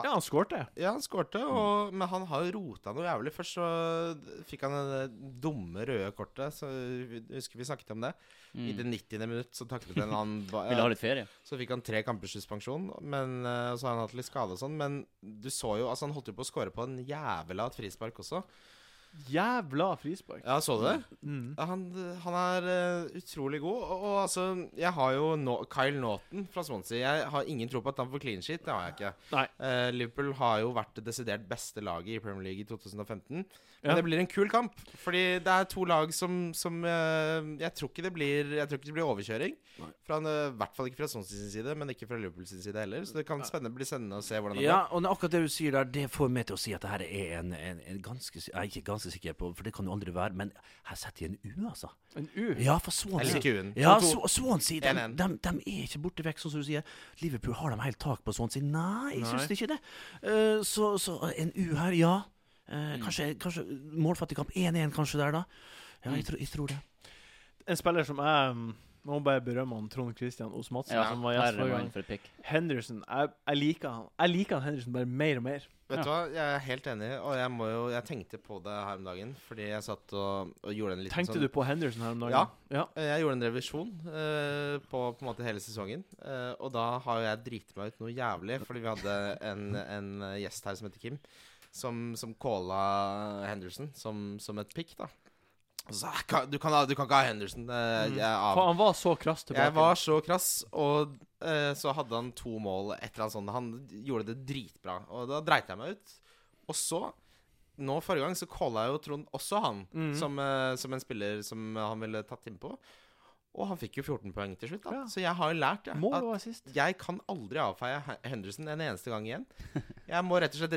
Ja, han skårte. Ja, han skårte, og, men han har jo rota noe jævlig. Først så fikk han det dumme røde kortet. Så vi- husker vi snakket om det. I eh, det Mm. 90. minutt så taklet en annen ba- Ville ha litt ferie. Så fikk han tre kampers suspensjon, men eh, så har han hatt litt skade og sånn. Men du så jo Altså, han holdt jo på å score på en jævla et frispark også. Jævla frispark. Ja, så du det? Mm. Ja, Han, han er eh, utrolig god. Og, og altså, jeg har jo nå- Kyle Naughton fra Swansea. Jeg har ingen tro på at han får clean sheet. Det har jeg ikke. Nei. Eh, Liverpool har jo vært det desidert beste laget i Premier League i 2015. Men Ja. det blir en kul kamp, fordi det er to lag som, som eh, Jeg tror ikke det blir Jeg tror ikke det blir overkjøring. Nei. Fra, en, eh, I hvert fall ikke fra Swansea sin side, men ikke fra Liverpool sin side heller. Så det kan spennende, bli spennende å se hvordan det Ja, og det- akkurat det du sier der, det får meg til å si at det her er en, en, en ganske si- Jeg er ikke ganske sikker på, for det kan jo aldri være, men her setter de en U, altså. En U. Ja, for blir. Jeg Swansea liker U-en. ja, 2-2. Sw- Swansea de, 1-1. de, de er ikke borte vekk, sånn som du sier. Liverpool har de helt tak på Swansea. Nei, jeg Nei. syns ikke det. Eh, så, så en U her, ja. Eh, kanskje, kanskje målfattig kamp 1-1 kanskje der, da. Ja, jeg, tror- jeg tror det. en spiller som jeg mm, må bare berømme han Trond Christian Os Madsen, Ja, altså, som var gjest herre forrige mann gang. for et pikk. Henderson. Jeg, jeg liker han Jeg liker han Henderson bare mer og mer. Vet Ja. du hva, jeg er helt enig, og jeg, må jo, jeg tenkte på det her om dagen. Fordi jeg satt og, og gjorde en liten Tenkte sånn du på Henderson her om dagen? Ja. ja. Jeg gjorde en revisjon eh, på på en måte hele sesongen. eh, og da har jo jeg driti meg ut noe jævlig, fordi vi hadde en, en gjest her som heter Kim, som, som calla Henderson som, som et pick, da. Og så sa jeg, "Ka- du kan, ha- du kan ikke ha Henderson. eh, jeg er av. For han var så krass tilbake. Jeg var så krass, og eh, så hadde han to mål, et eller annet sånt. Han gjorde det dritbra, og da dreit jeg meg ut. Og så, nå forrige gang, så calla jeg jo Trond også han, Mhm. som, eh, som en spiller som han ville tatt innpå. Og han fikk jo 14 poeng til slutt, da. Ja. Så jeg har jo lært, jeg. Må at jo være sist. jeg kan aldri avfeie Hen- Henderson en eneste gang igjen. Jeg må rett og slett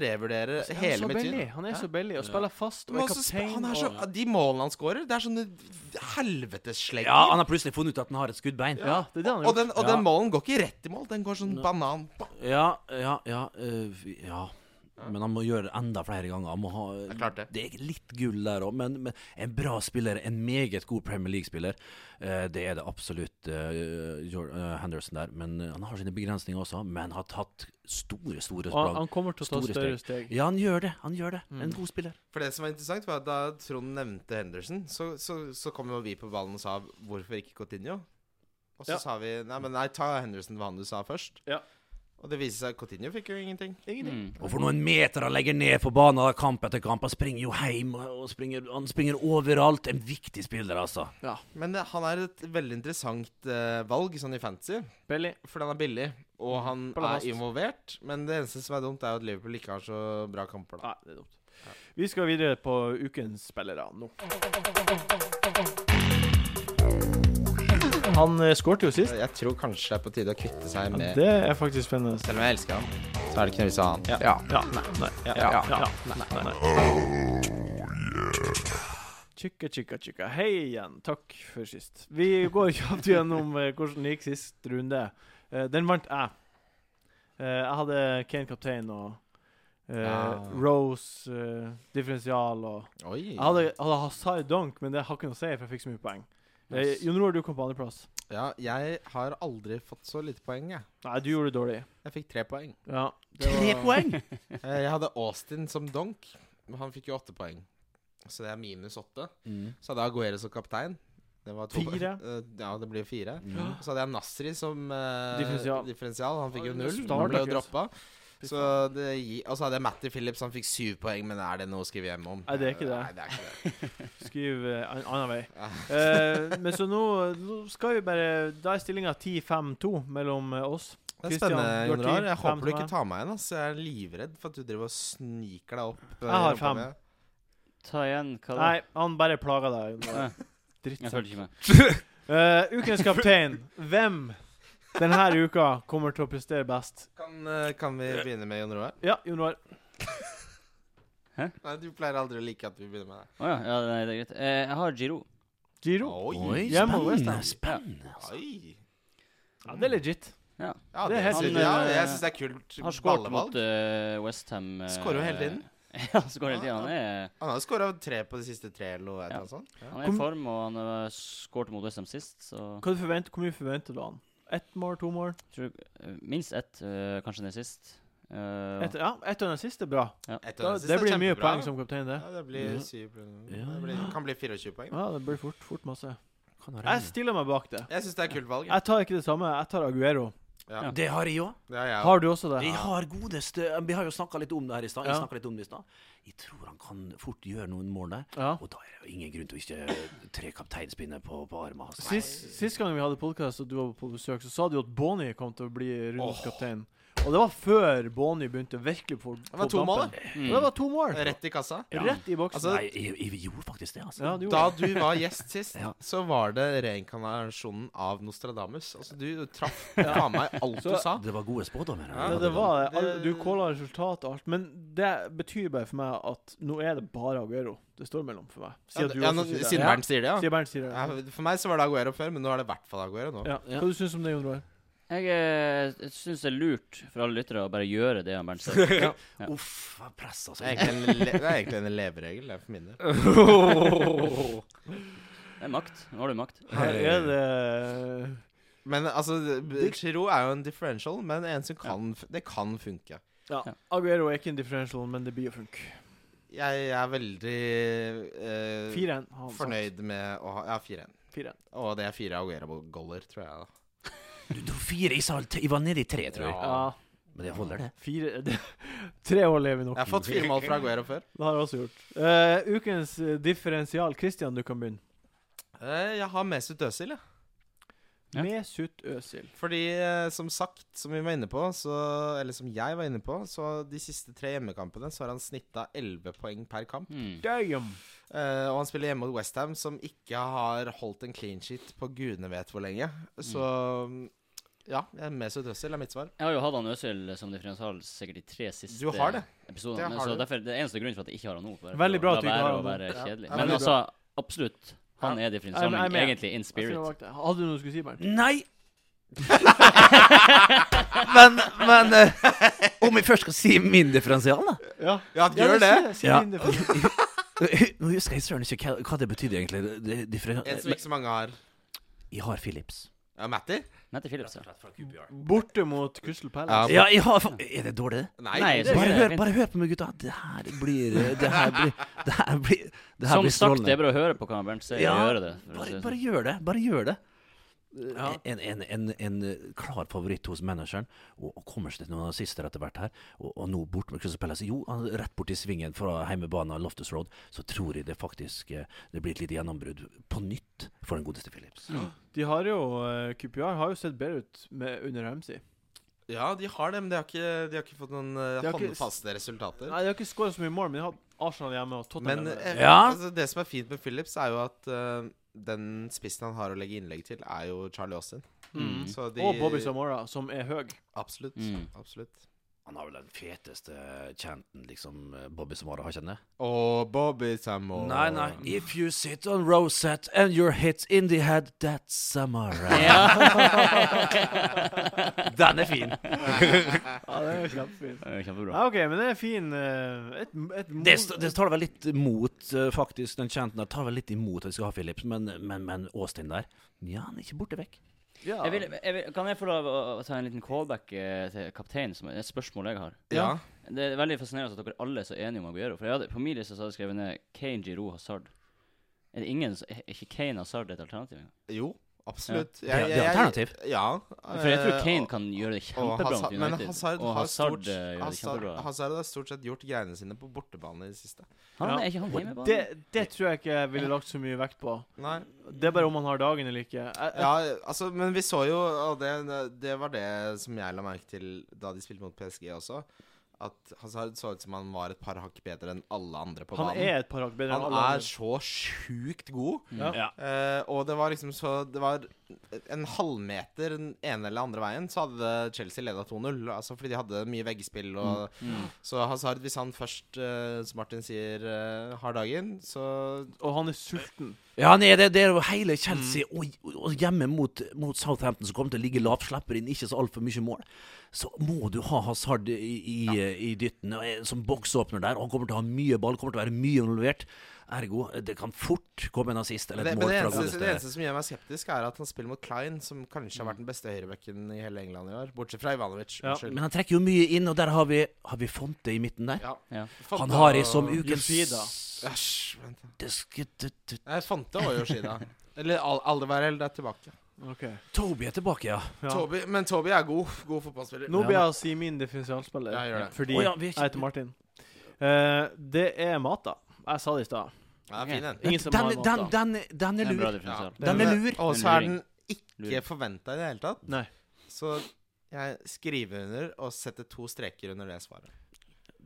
revurdere Han er hele så mitt billig. syn. Han er Ja. så billig og spiller fast og Men er også, sp- kaptein. han er så, og, de målene han scorer, det er sånne helvetesslegger. Ja, han har plutselig funnet ut at han har et skuddbein. ja, det er det han Og gjør. den, og Ja. den målen går ikke rett i mål, den går sånn banan Ja, ja, ja, øh, ja. Men han må gjøre det enda flere ganger. Han må ha, er klart det. er litt gull der òg, men, men en bra spiller, en meget god Premier League-spiller, eh, det er det absolutt eh, Jor- eh, Henderson der. Men eh, han har sine begrensninger også, men har tatt store, store Og han, sprang. han kommer til å ta Store større steg. Ja, han gjør det. Han gjør det. En god spiller. For det som var interessant, var at da Trond nevnte Henderson, så, så, så kom jo vi på ballen og sa 'hvorfor ikke Coutinho?' Og så Ja. sa vi 'nei, men nei, ta Henderson hva han du sa først'. Ja. Og det viste seg at Coutinho fikk jo ingenting. Ingenting. Mm. Og for noen meter han legger ned på banen da, kamp etter kamp. Han springer jo hjem, og springer, han springer overalt. En viktig spiller, altså. Men eh, han er et veldig interessant eh, valg sånn i fantasy, Billig. fordi han er billig, og Mm. han Ballast. er involvert. Men det eneste som er dumt, er jo at Liverpool ikke har så bra kamper, da. Nei, det er dumt. Vi skal videre på ukens spillere nå. Han eh, skårte jo sist. Jeg tror kanskje det er på tide å kvitte seg med Det er faktisk spennende. Selv om jeg elsker han, så er det ikke noe vits i å ha han. Ja. Ja. Nei. Nei. Ja. Ja. ja, Nei. Nei. Tjukka, tjukka, tjukka. Hei igjen. Takk for sist. Vi går kjapt gjennom eh, hvordan det gikk sist runde. Eh, den vant jeg. Eh, jeg hadde Kane kaptein og eh, Ja. Rose eh, differensial og Oi. Jeg hadde, hadde Hazard Dunk, men det har ikke noe å si, for jeg fikk så mye poeng. Eh, Jon Roar, du kom på andreplass. Ja, jeg har aldri fått så lite poeng, jeg. Nei, du gjorde det dårlig. Jeg fikk tre poeng. Ja, det Tre var- poeng! Eh, Jeg hadde Austin som donk, men han fikk jo åtte poeng. Så det er minus åtte. Mm. Så hadde jeg Aguero som kaptein. Det var to Fire. Eh, Ja, det blir fire. Så hadde jeg Nasri som eh, Differensial. differensial. Han fikk jo Oi, null. starter Han ble jo ikke. droppa. Så det, gi- og så hadde jeg Matty Phillips, han fikk syv poeng, men er det noe å skrive hjem om? Nei, det er ikke det. Nei, det er ikke det. Skriv eh, an annen vei. Ja. Eh, men så nå, nå skal vi bare Da er stillinga 10-5-2 mellom eh, oss. Det er Christian, spennende, du har Jon Rar. ti, fem Jeg håper du til ikke meg. tar meg igjen. ass. Jeg er livredd for at du driver og sniker deg opp. eh, Jeg har i rumpa fem. mi. Ta igjen, hva da? Nei, han bare plager deg. Nei. Jeg Drittsekk. følte ikke med. Eh, ukens kaptein. Hvem denne uka kommer til å prestere best? Kan, eh, kan vi begynne med Jon Roar? Ja, Jon Roar. Nei, du pleier aldri å like at vi begynner med deg. Å ja, ja, nei, det er greit. Eh, jeg har Giro. Giro. Oi, Hjemme og West spennende. Ham. spennende. Oi. Ja, det er legit. Ja, Det er helt synes- sykt. ja, Han, eh, jeg syns det er kult Har skåret mot ballevalg. eh, West Westham. Skårer jo hele tiden. ja, skårer hele tiden. Han er, Han har jo skåra tre på de siste tre, eller noe Ja. ja. sånt. Ja. han er Kom- i form, og han eh, skårte mot Westham sist, så Hva du forventer, hvor mye forventer du av han? Ett mål, to mål? tror jeg, eh, minst ett, eh, kanskje ned sist. Eh, Et, ja, ett og den siste er bra. Et av Da, de siste det er blir mye kjempebra. poeng som kaptein, det. ja, det blir Ja. syv poeng. Ja, Det blir, kan bli 24 poeng. Ja, det blir fort, fort masse. Kan ha Jeg regnet. stiller meg bak det. Jeg syns det er kult valg. Jeg tar ikke det samme. Jeg tar Aguero. Ja. Ja. Det har jeg òg. Ja, ja. Har du også det? Vi har godeste Vi har jo snakka litt om det her i stad. Jeg Ja. snakket litt om det i stad. Jeg tror han kan fort gjøre noen mål der. Ja. Og da er det jo ingen grunn til å ikke tre kapteinspinner på, på armen hans. Sist, sist gang vi hadde podkast og du var på besøk, så sa du jo at Bonny kom til å bli rundens kaptein. Og det var før Bonny begynte virkelig på Det var to mål, da. mm. Og det var to mål! Rett i kassa. Rett i boksen. Altså, Nei, jeg, jeg, gjorde faktisk det, altså. ja, du da gjorde det. du var gjest sist, Ja. så var det reinkarnasjonen av Nostradamus. Altså, du traff faen meg alt du Så- sa. Det var gode spådommer. Ja, Det, det var det. Det- Alle- Du calla resultat og alt. Men det betyr bare for meg at nå er det bare Aguero det står mellom for meg. Ja, Siden du ja, nå- også sier siden det. Bernt sier det, ja. Sier Bernt sier ja. det. For meg så var det Aguero før, men nå er det i hvert fall Aguero nå. Ja. Hva du syns du om det, Jon Roar? Jeg, eh, syns det er lurt for alle lyttere å bare gjøre det han Bernt sier. Ja. Uff, altså. han pressa Det er seg. egentlig en, le det er egentlig en leveregel, det er for min del. Det er makt. Nå har du makt. Her er det Men altså, det- Giroud er jo en differential, men en som kan f- Det kan funke. Ja. Aguero er ikke en differential, men det blir å funke. Jeg er veldig eh, 4-1. fornøyd med å ha Ja, 4-1. 4-1. Og det er fire Aguero-goller, tror jeg. da Du tok fire i salt. Jeg var nede i tre, tror jeg. Ja. Men det holder, det. Fire det, Tre år lever vi nok. Jeg har fått fire mål fra Aguero før. Det har jeg også gjort. Eh, ukens eh, differensial. Christian, du kan begynne. Eh, Jeg har Mesut Özil, jeg. Ja. Mesut Özil. Fordi, eh, som sagt, som vi var inne på, så, eller som jeg var inne på, så de siste tre hjemmekampene så har han snitta 11 poeng per kamp. Hmm. Damn! Eh, og han spiller hjemme mot Westham, som ikke har holdt en clean sheet på gudene vet hvor lenge. Så mm, ja, jeg er Mesut Özil er mitt svar. Jeg har jo hatt han Øsil som differensial sikkert i tre siste Du har det. episoder. Det men så har du. derfor, det er eneste grunnen for at jeg ikke har han nå. bare for Veldig å bra la at du ikke være har å han nå. være Ja. kjedelig. Ja, Men veldig altså, absolutt. Han Ja. er differensial, Jeg- jeg er men med. egentlig in Jeg skulle spirit. valgt det. Hadde du noe du skulle si, Bernt? Nei! Men, men Om jeg først skal si min differensial, da. Ja, Ja, gjør det. Si, si Ja. din differensial. Nå husker jeg søren ikke hva, hva det betydde egentlig. Det- det- differen- En som ikke så mange har. Jeg har Philips. Ja, Matti? Nette Phillips, ja. Borte mot Crystal Palace. Ja, jeg har fa- Er det dårlig, det? Nei. Nei, det, så- Bare det er hør, fint. bare hør på meg, gutta. Det her blir Det her blir Det her blir, det her Som blir sagt, det er strålende. bare å høre på hva Bernt sier. Ja, og gjøre det. for å si Bare, det bare sånn. gjør det. Bare gjør det. Ja. En, en, en, en klar favoritt hos manageren, og, og kommer seg til noen assister etter hvert her. Og, og nå bort med Crystal Palace. Jo, han er rett borti svingen fra heimebanen av Loftus Road, så tror jeg det faktisk eh, Det blir et lite gjennombrudd på nytt for den godeste Philips. sånn. De har jo eh, QPR har jo sett bedre ut med, under Ramsey. ja, de har det, men de har ikke, de har ikke fått noen eh, De har ikke- håndfaste resultater. Nei, de har ikke skåra så mye mål, men de har Arsenal hjemme og Tottenham Men hjemme. eh, Ja. altså, det som er fint med Phillips, er jo at eh, den spissen han har å legge innlegg til, er jo Charlie Austin. Mm. Så de, Og Bobby Samora, som er høy. Absolutt. Mm. absolutt. Han har vel den feteste chanten liksom Bobby Samara har, kjenner jeg. Og Bobby Samora Nei, nei. If you sit on Rosette and you're hit in the head, that's Samara. Den er fin. Ja, det er kjempefint. Det er Kjempebra. Ja, OK, men det er fin eh, Et, et Det, st- det tar vel litt imot, eh, faktisk, den chanten der. Tar vel litt imot at vi skal ha Philips, men, men, men Austin der Ja, han er ikke borte vekk. ja. Jeg vil, jeg vil, kan jeg få lov å å ta en liten callback eh, til kapteinen, som er et spørsmål jeg har? Ja. Det er veldig fascinerende at dere alle er så enige om Aguero. For jeg hadde, på min liste så hadde jeg skrevet ned Kane, Giroud, Hazard. Er det ingen som Er ikke Kane Hazard et alternativ? engang? Jo, absolutt. Ja. Det er- det er alternativ. Ja. For jeg tror eh, Kane kan gjøre det og- og kjempebra mot Hazard- men United. Hazard og har Hazard stort- eh, gjør det Hazard, kjempebra. Hazard har stort sett gjort greiene sine på bortebane i det siste. Han Ja. er ikke han hjemmebane. det, det tror jeg ikke jeg ville lagt så mye vekt på. Nei. Det er bare om han har dagen eller ikke. Jeg, jeg, Ja, altså, men vi så jo Og det, det var det som jeg la merke til da de spilte mot PSG også. At Hazard så ut som han var et par hakk bedre enn alle andre på han banen. er et par hakk bedre enn han alle er andre. så sjukt god. Mm. Ja. Ja. Eh, og det var liksom så Det var en halvmeter den ene eller andre veien, så hadde Chelsea leda 2-0. Altså fordi de hadde mye veggspill og Mm. Mm. Så Hazard, hvis han først, eh, som Martin sier, eh, har dagen, så Og han er sulten. Ja, han er det. Det er jo hele Chelsea Mm. og, og hjemme mot, mot Southampton, som kommer til å ligge lavt, slipper inn ikke så altfor mye mål. Så må du ha Hazard i, i, i dytten og en som boksåpner der. Og han kommer til å ha mye ball, kommer til å være mye involvert. Ergo, det kan fort komme en assist eller det, et Men mål det fra eneste, det godeste eneste som gjør meg skeptisk, er at han spiller mot Klein, som kanskje har vært den beste høyrebekken i hele England i år. Bortsett fra Ivanovic. Ja, Men Unnskyld. han trekker jo mye inn, og der har vi, har vi Fonte i midten der. Ja. Ja. Fonte Han har og- i som ukens Yoshida. Æsj, vent da. Det sk- t- t- Nei, Fonte og Yoshida. Eller Al Aldevarel det er tilbake. Ok. Toby er tilbake, ja. Ja. Toby, men Toby er god. God fotballspiller. Nå blir jeg å si min differensialspiller, Ja, gjør det. fordi Å ja, vi er ikke- jeg heter Martin. Eh, det er Mata. Jeg sa det i stad. Ja, fin en. Ingen som den, har den, Mata. den, den Det er er en bra lur. differensial. Ja. Den er lur. Og Den så er er den Lur. ikke forventa i det hele tatt. Nei. Så jeg skriver under og setter to streker under det svaret.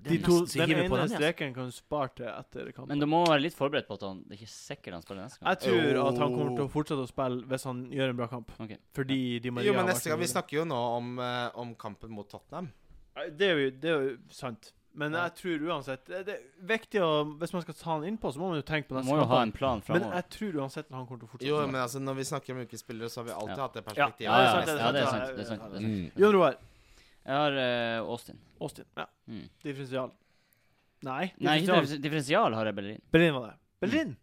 De to, nesten så jeg den hiver på ene den, ja. streken kan du spare til etter Men kampen. du må være litt forberedt på at han Det er ikke sikkert han spiller neste Jeg gang. tror at han kommer til å fortsette å spille hvis han gjør en bra kamp. Ok. Fordi Di Maria Jo, men har vært neste gang Vi så god. snakker jo nå om, eh, om kampen mot Tottenham. Nei, Det er jo, det er jo sant. Men Ja. jeg jeg tror uansett Det det er viktig å Hvis man skal ta han innpå, så må man jo tenke på Man neste må jo ha kamp. en plan Men framover. jeg tror uhansett at han kommer til å fortsette. Jo, men altså, Når vi snakker om ukespillere, så har vi alltid Ja. hatt det perspektivet. Ja, ja, det er sant, ja, det er sant, Mm. sant. Det er sant, det er sant. Jon Roar. Jeg har eh, Austin. Austin. Ja. Mm. Differensial. Nei. Nei, ikke differensial. differensial har jeg Bellerin. Berlin var det. Berlin!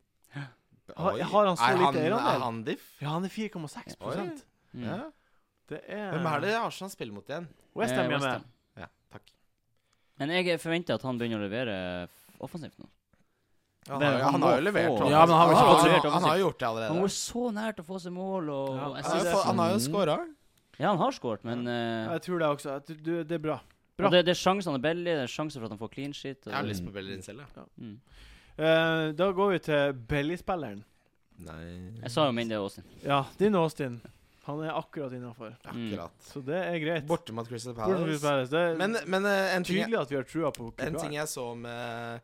Har, Oi. har han så er lite Er eierandel? han diff? Ja, han er 4,6 prosent. Mm. Ja. Det er Hvem er det Arsenal spiller mot igjen? Eh, Westham West hjemme. Ham. Ja, takk. Men jeg forventer at han begynner å levere f- offensivt nå. Han, Det- har, jo- han han må har jo levert. få- Thomas. Ja, men han har jo ikke fått han, levert, han, han har jo gjort det Han Mm. var allerede. så nær til å få seg mål og Ja, han jeg Han har synes- jo fått- Han har jo scora. Ja, han har skåret, men eh, Jeg tror det også. at Du, det er bra. bra. og det, det er sjansene er billige, det er sjanser for at han får clean shit. Og, Jeg har lyst på Bellerin selv, jeg. mm. Eh, da går vi til Belly-spilleren. Nei, Jeg sa jo min, det er Austin. Ja, din Austin. Han er akkurat innafor. akkurat. Så det er greit. Borte mot Crystal Bortsett fra Palace. Palace, Det er Men, men eh, en ting jeg- tydelig at vi har trua på En ting Kukurella. jeg så med,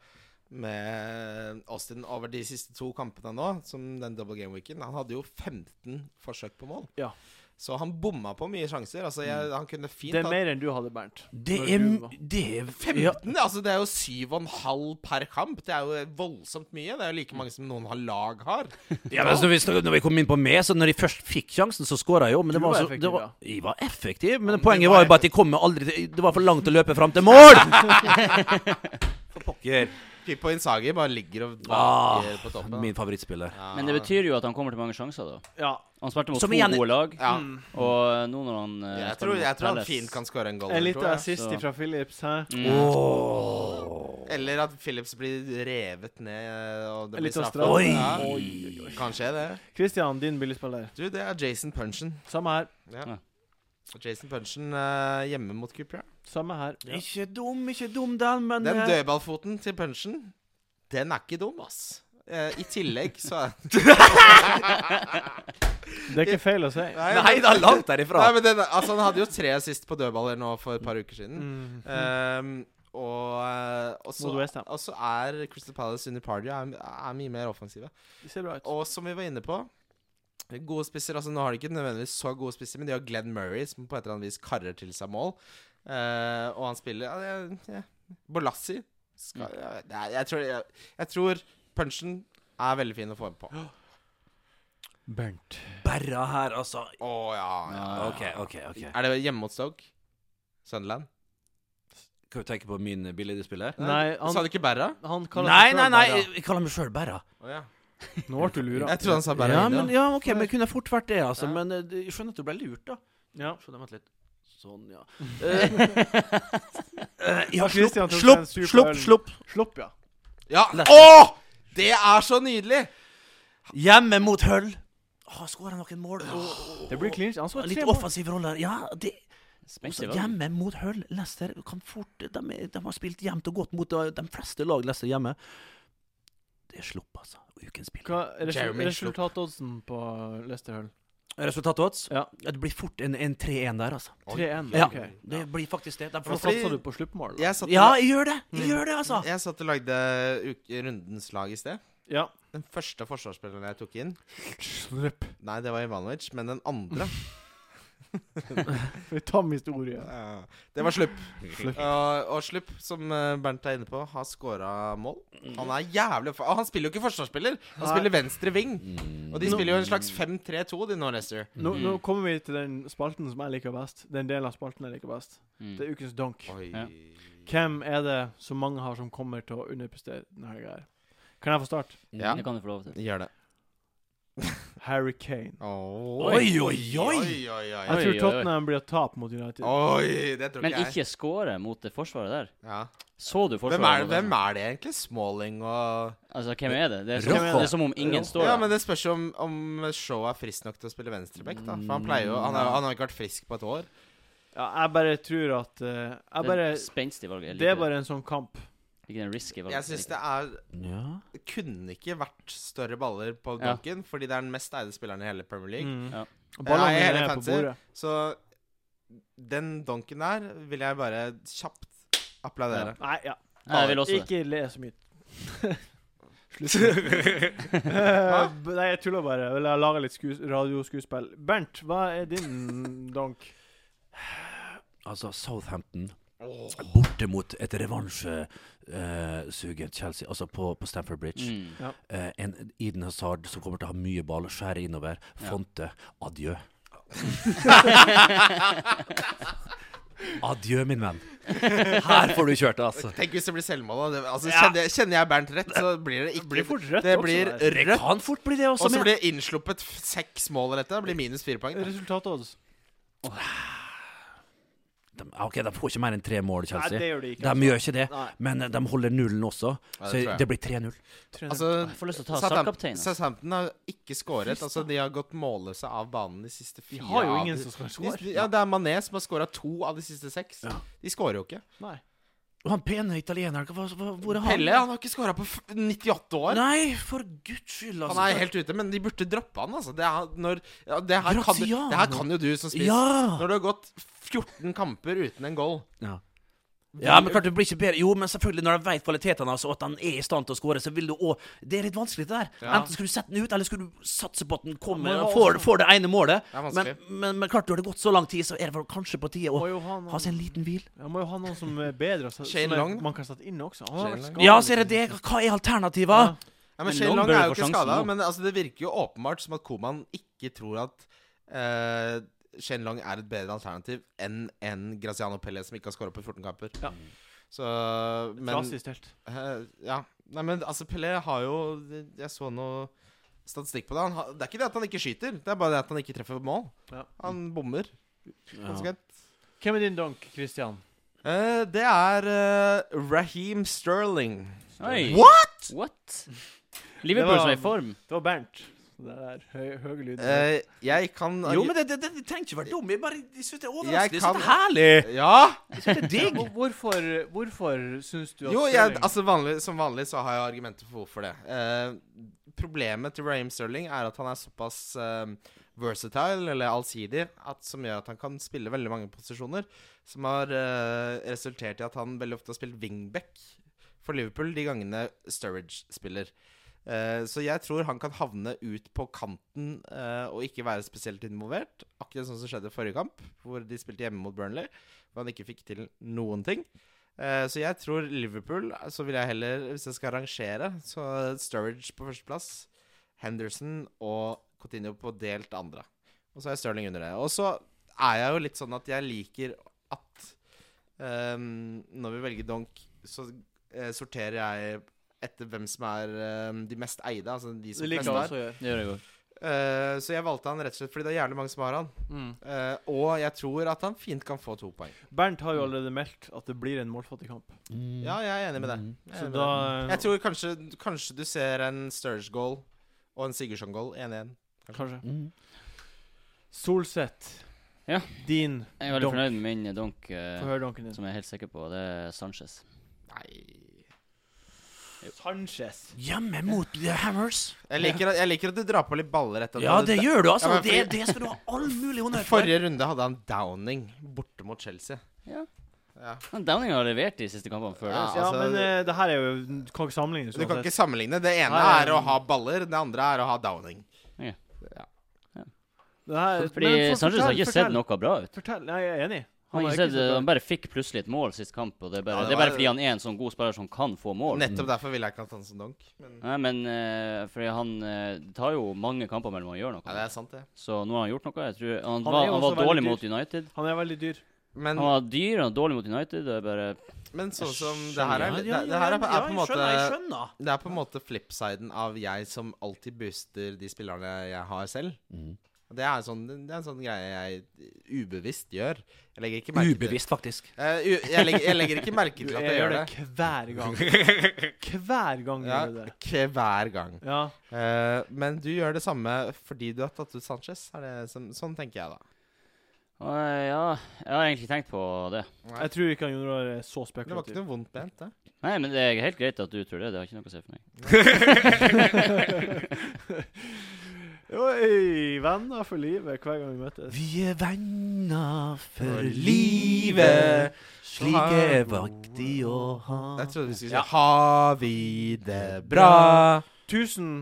med Austin over de siste to kampene nå, som den double game weeken Han hadde jo 15 forsøk på mål. Ja. Så han bomma på mye sjanser. Altså, jeg, han kunne fint Det er hatt- mer enn du hadde, Bernt. Det Når er du var- Det er 15? ja. Altså, det er jo 7,5 per kamp. Det er jo voldsomt mye. Det er jo like mange som noen har lag har. Ja, men når, vi, snak- når vi kom inn på meg, så når jeg først fikk sjansen, så skåra jeg jo. Men det Du var, var så, det effektiv, var, da. jeg var effektiv, Ja, men du poenget var var jo bare at jeg kom meg aldri til Det var for langt å løpe fram til mål! For pokker. Pippo Insagi bare ligger og Ah, vaker på toppen. min favorittspiller. Ja. Men det betyr jo at han kommer til mange sjanser, da. Ja. Han spilte mot Som to igjen- gode lag, ja. og nå når han eh, Jeg spiller tror, mot jeg tror han Palace- fint kan score en goal. En eller liten to, ja. assist så- fra Philips, hæ? Mm. Åh. Eller at Phillips blir revet ned, eh, og det En blir liten straffe. straff. Oi. Ja, kan skje, det. Christian, din billigspiller. Du, det er Jason Punchen. Samme her. Ja. Ja. Jason Punchen eh, hjemme mot Cooper. Samme her. Ikke dum, ikke dum, den, men Den eh, dødballfoten til Punchen, den er ikke dum, ass. Eh, I tillegg så er Det er ikke feil å si. Nei da, langt derifra. Nei, men den, altså, han hadde jo tre assist på dødballer nå for et par uker siden. Mm. Ehm, og, eh, og, så, Mot West Ham. og så er Crystal Palace under Pardew er, er mye mer offensive. Det ser bra ut. Og som vi var inne på Gode spisser, altså Nå har de ikke nødvendigvis så gode spisser, men de har Glenn Murray, som på et eller annet vis karrer til seg mål. Eh, og han spiller ja, det er- ja. Bolassi skal, ja, det er- jeg, tror, jeg, jeg tror punchen er veldig fin å få med på. Å Bernt. Berra her, altså. ja, ja. Ja, OK, OK. ok Er det hjemme mot Stoke? Sunderland? Kan du tenke på min billedspiller? Nei, Sa han, du ikke Berra? han kaller Nei, seg nei, selv nei, Berra. jeg- jeg kaller meg sjøl Berra. Å ja. Nå ble du lura. Jeg trodde han sa Berra. Ja, inne, men, da. ja, ok, men kunne fort vært det, altså. Ja. Men eh, jeg skjønner at du ble lurt, da. Ja. Skjønner, vent litt. Sånn, ja. Eh, eh, ja, slopp, Christian tok slopp, en super slopp, øl. slopp. Slopp, ja. ja. Åh! Det er så nydelig! Hjemme mot Ah, Hull. Har skåra noen mål. og- og- Det blir clinch. Han og så tre Litt mål. offensiv rolle. her. Ja, det Spenstig Altså, valg. hjemme mot Hull. Leicester kan fort de, er- de har spilt jevnt og godt mot eh, de fleste lag Leicester hjemme. Det er slopp, altså. Ukens spill. Hva er resul Jeremy Slopp. resultatoddsen på Leicester Hull? Resultatet vårt? Ja. Det blir fort en, en 3-1 der, altså. 3-1. Ja, ok. det blir faktisk det. De For da får Fordi- satsa du på sluttmål? da. Mm. Jeg satt, Ja, jeg gjør det! Jeg gjør det, altså. jeg satt og lagde uk- rundens lag i sted. Ja. Den første forsvarsspilleren jeg tok inn Slipp. Nei, det var Ivanovic, men den andre Vi tar med historie. eh, Det var Slupp. Slupp. Og, og Slupp, som eh, Bernt er inne på, har scora mål. Han er jævlig fa- Og han spiller jo ikke forsvarsspiller! Han Nei. spiller venstre ving. Mm. Og de spiller jo en slags 5-3-2, de nå, Lester. Nå, nå kommer vi til den spalten som jeg liker best. Den delen av spalten jeg liker best. Mm. Det er ukens donk. Oi. Ja. Hvem er det som mange har som kommer til å underprestere denne helga? her? Kan jeg få starte? Ja. Det kan du få lov til. Gjør det. Harry Kane. Oi, oi, oi! oi, oi, oi. Jeg Oi, tror oi, oi. Tottenham blir å tape mot United. Oi, det tror Men ikke jeg. ikke skåre mot det forsvaret der. Ja. Så du forsvaret? altså. Hvem, er, mot hvem det? er det egentlig? Smalling og Altså, hvem er det? Det er som, Rocco. det er som om ingen står Ja, der. men det spørs jo om, om Shaw er frisk nok til å spille venstreback, da. For han pleier jo Han har, han har ikke vært frisk på et år. Ja, jeg bare tror at eh, Jeg Det er bare et Spenstig valg. Jeg Det er liker det. bare en sånn kamp. Ikke den risky valget. Jeg syns det er Ja. Det kunne ikke vært større baller på Ja. dunken, fordi det er den mest eide spilleren i hele Premier League. Mm. Ja. Ballene Ja, jeg er er helt på fancy. bordet. Så den dunken der vil jeg bare kjapt applaudere. Nei, ja. Nei, jeg vil også det. Ikke le så mye. Slutt. Eh, b- Nei, jeg tuller bare. Jeg vil lage litt skues radioskuespill. Bernt, hva er din donk? Altså, Southampton borte mot et revansjesugent Chelsea, altså på, på Stamford Bridge. Mm. Eh, en Eden Hazard som kommer til å ha mye ball, skjære innover. Ja. Fonte, adjø. Adjø, min venn. Her får du kjørt, altså. Tenk hvis det blir selvmål. da. Det- Altså, Ja. kjenner, jeg, kjenner jeg Bernt rett, så blir det ikke blir fort rødt Det også blir der. Det rødt. kan fort bli det Og også. så Men... blir det innsluppet f- seks mål rett. Det blir minus fire poeng. da. Resultatodds? De, ok, de får ikke mer enn tre mål, Nei, det Chelsea. gjør de ikke. De altså. gjør ikke det. Nei. Men eh, de holder nullen også, det så tror jeg. det blir 3-0. Altså, Jeg får lyst til å ta altså. Southampton, sarkapteinen. Southampton har ikke skåret. Altså, de har gått målløse av banen de siste Vi fire. har jo av ingen de- som skal de, score. de- ja, Det er Mané som har skåra to av de siste seks. Ja. De skårer jo ikke. Nei. Og han pene italieneren, hva- hva- hvor er han? Pelle han har ikke skåra på f 98 år. Nei, for guds skyld, altså. Han er helt ute, men de burde droppe han, altså. Det, er, når, ja, det, her, kan, du- Graziano. det her kan jo du som spiss. Ja! Når du har gått 14 kamper uten en goal Ja. Ja, men klart du blir ikke bedre Jo, men selvfølgelig, når de vet kvalitetene hans, og at han er i stand til å skåre, så vil du òg Det er litt vanskelig, det der. Ja. Enten skulle du sette den ut, eller skulle du satse på at den Ja, kommer men og det var får, også- får det ene målet. Det er Men, vanskelig. men, men klart, når det har gått så lang tid, så er det vel kanskje på tide å Må jo ha ha seg noen, en liten hvil. jeg må jo ha noen som er bedre, altså, Shane som er, Long, da. man kan sette inn også. Han har Shane vært Long. skadet. Ja, så er det det. Hva er alternativa? Ja. Ja, men Men Shane Long Long bør er jo jo få ikke sjansen skada, nå. men altså, det virker jo åpenbart som at Koman ikke tror at eh, Shane Long er et bedre alternativ enn en Graziano Pelle som ikke har skåra på 14 kamper. Ja. Så Men Trasig stelt. eh, Ja. Nei, men altså, Pelle har jo Jeg så noe statistikk på det. Han har, det er ikke det at han ikke skyter, det er bare det at han ikke treffer mål. Ja. Han bommer. konsekvent. Hvem er din donk, Christian? Eh, det er eh, Raheem Sterling. Oi. What?! What? Liverpool Det som var- er i form. Det var Bernt. Det der høy, høye lyden. Eh, jeg kan Jo, men det, det, det, det trenger ikke være dum. Jeg bare jeg syns det er Jeg overraskende. Jeg kan- syns det er herlig. Ja! Jeg synes det er digg. Hvor- hvorfor hvorfor syns du at Jo, jeg, Stirling- altså vanlig, som vanlig så har jeg argumenter for hvorfor det. Eh, problemet til Raheem Sterling er at han er såpass eh, versatile, eller allsidig, at, som gjør at han kan spille veldig mange posisjoner. Som har eh, resultert i at han veldig ofte har spilt wingback for Liverpool de gangene Sturridge spiller. Eh, så jeg tror han kan havne ut på kanten eh, og ikke være spesielt involvert. Akkurat sånn som skjedde i forrige kamp, hvor de spilte hjemme mot Burnley. Hvor han ikke fikk til noen ting. Eh, Så jeg tror Liverpool eh, Så vil jeg heller, hvis jeg skal rangere Så Sturridge på førsteplass Henderson og Coutinho på delt andre Og så er Sterling under det Og så er jeg jo litt sånn at jeg liker at eh, Når vi velger donk Så eh, sorterer jeg etter hvem som er eh, de mest eide Altså de Det som liker flest jeg er også å gjøre. Det gjør jeg godt. Eh, Så jeg valgte han rett og slett Fordi det er jævlig mange som har han Mm. Eh, Og jeg tror at han fint kan få to poeng Bernt har jo allerede meldt at det blir en målfattig kamp. Mm. Mm. Ja, jeg er enig med det Jeg er Så enig med da eh, det. Jeg tror kanskje, kanskje du ser en Sturge-goal og en Sigurdsson-goal 1-1. Kanskje. Mm. Solseth. Ja. Din. Jeg er veldig Donk. fornøyd med min donk, eh, Få høre donken din. som jeg er helt sikker på. Det er Sanchez. Nei Sanchez. Hjemme mot The Hammers. jeg liker, at, jeg liker at du drar på litt baller etter at Ja, du- det gjør du, altså. Ja, men Det, fordi- det skal du ha all mulig honnør for. Forrige runde hadde han Downing borte mot Chelsea. Ja. Ja. Men Downing har levert de siste kampene før. Ja. det, ja, altså- men eh, det her er jo Du kan ikke sammenligne. Du kan Solseth. ikke sammenligne. Det ene Nei. er å ha baller, det andre er å ha Downing. Det her, så. Fordi men for- Sanchez har fortell- ikke sett fortell- noe bra ut. Fortell. Nei, jeg er enig. har Han, ikke har ikke sett, eh, sett bra han bare fikk plutselig et mål sist kamp, og det er bare, Ja, det det er bare var- fordi han er en sånn god spiller som kan få mål. Nettopp derfor ville jeg ikke hatt han som donk. Men Nei, men eh, fordi han eh, det tar jo mange kamper mellom å gjøre noe. ja, det er sant, det. Så nå har han gjort noe. Jeg tror, han, Han er var, jo han også var dårlig veldig mot United. Han er veldig dyr. Men, Han var dyr, han var dårlig mot United. Det er bare men sånn som det her er Ja, Det, ja, det her er, ja, på- er på en jeg skjønner, jeg måte skjønner. Det er på en måte flipsiden av jeg som alltid booster de spillerne jeg har selv. Og Det er, sånn, det er en sånn greie jeg ubevisst gjør. Jeg legger ikke merke Ubevisst, faktisk. til Eh, u- jeg, legger, jeg legger ikke merke Du, til at jeg jeg gjør gjør det. det hver gang. Hver gang gjør Ja, du det. k- hver gang. Ja. Eh, men du gjør det samme fordi du har tatt ut Sanchez. Er det som, sånn tenker jeg, da. Å, Ja, jeg har egentlig ikke tenkt på det. Jeg tror ikke han Jon Roar er så Det var ikke spekulativ. noe vondt ment, det. Nei, men det er helt greit at du tror det. Det har ikke noe å si for meg. Oi, venner for livet hver gang vi møtes. Vi er venner for For livet, livet, slik er vaktig å ha Jeg trodde vi skulle si Ah. Ja. Har vi det bra? Tusen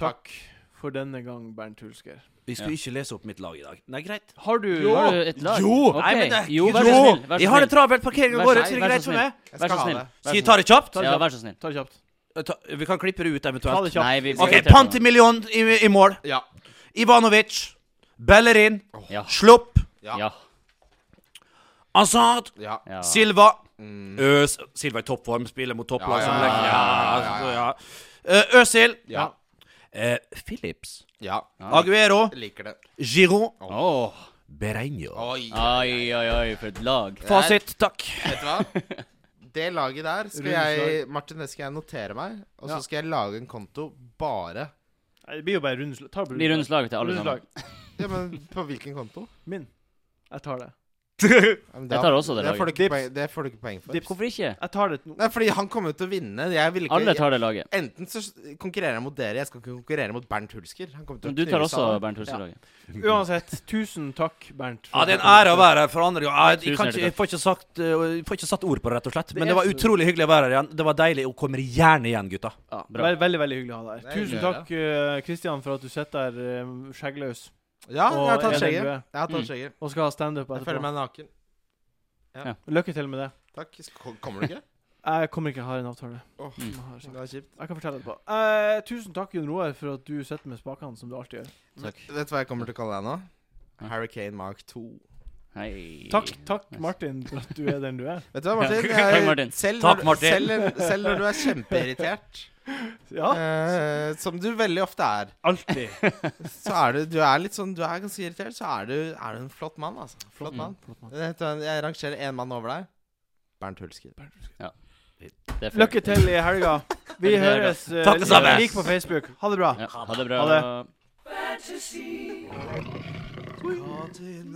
takk for denne gang, Bernt Hulsker. Vi skulle ikke lese opp mitt lag i dag. Nei, greit. Har du Jo! Har du et lag? Jo! Ok. Nei, men det, jo, vær så jo! snill. Vær Jeg så har det snill. travelt, parkeringa Vær går, så- vær så det så greit for snill. meg. Jeg Vær skal så ha snill. det. Skal vi ta det kjapt? Ja, vær så snill. Ta det kjapt. Eh, Ta, vi kan klippe det ut Ta det eventuelt. kjapt. Nei, vi OK, prioriterer det. Pantemillion i, i mål. Ja. Ivanovic. Bellerin. Ja. Slopp. ja. Assad! Ja. Ja. Silva! Mm. Øs, Silva i toppform, spiller mot topplag. Ja, som ja, legger- ja, ja, ja, altså, ja. ja. Eh, Øsil. Ja. Eh, Phillips. ja. Ah. Ja. Aguero. Liker det. Giron. Åh. Berenio. Oi. Oi, oi, oi, for et lag. Fasit, takk. Vet du hva? Det laget der skal jeg Martin, det skal jeg notere meg. Og så Ja. skal jeg lage en konto bare Nei, Det blir jo bare rundeslag. Ta Blir rundens lag til alle sammen. Rundeslag. Ja, men på hvilken konto? Min. Jeg tar det. Ja, men Jeg tar også det får du laget. ikke poeng, det får du ikke poeng for. Dips. Hvorfor ikke? Jeg tar det nå. Nei, fordi han kommer jo til å vinne. Jeg vil ikke Alle tar det laget. Enten så konkurrerer jeg mot dere, jeg skal ikke konkurrere mot Bernt Hulsker. Han kommer til å Men du tar knuse også alle. Bernt Hulsen-laget. Uansett, tusen takk, Bernt. for Ja, Det er at du en kom. ære å være her for andre gang. Jeg, jeg, Tusen kan ikke, jeg, hjertelig får ikke sagt, eh, jeg får ikke satt ord på det, rett og slett. Det Men er det var så- utrolig hyggelig å være her igjen. Det var deilig. Og kommer gjerne igjen, gutta. Ja, Bra. veldig, veldig, veldig hyggelig å ha deg Det her. er Tusen hyggelig, takk, eh, Christian, for at du sitter der eh, skjeggløs Ja, jeg har Og tatt en skjegget. elve. Jeg har Mm. tatt skjegget. og skal ha standup Jeg føler etterpå. meg naken. Lykke til med det. Takk. Ko- Kommer du ikke? Jeg kommer ikke å ha en avtale. Åh, Jeg Mm. har sagt. det var kjipt. Jeg kan fortelle etterpå. Eh, tusen takk, Jon Roar, for at du sitter med spakene, som du alltid gjør. Takk. Vet du hva jeg kommer til å kalle deg nå? Ja. Hurricane Mark 2. Hei. Takk, takk Martin, for at du er den du er. Vet du hva, Martin? Ja. Takk, Jeg- Martin. Selv, Takk, når, Martin. Selv, selv når du er kjempeirritert, Ja, eh, som du veldig ofte er, alltid. så er du, du er litt sånn Du er ganske irritert, så er du, er du en flott mann, altså. Flott Mm. mann. Flott mann. Vet du hva, Jeg rangerer én mann over deg. Bernt Hulsker. Det er fair. Lykke til i helga. Vi Lykke til i helga. høres. eh, Takk det samme. Lik på Facebook. Ha det bra. Ja, ha det bra. Ha det.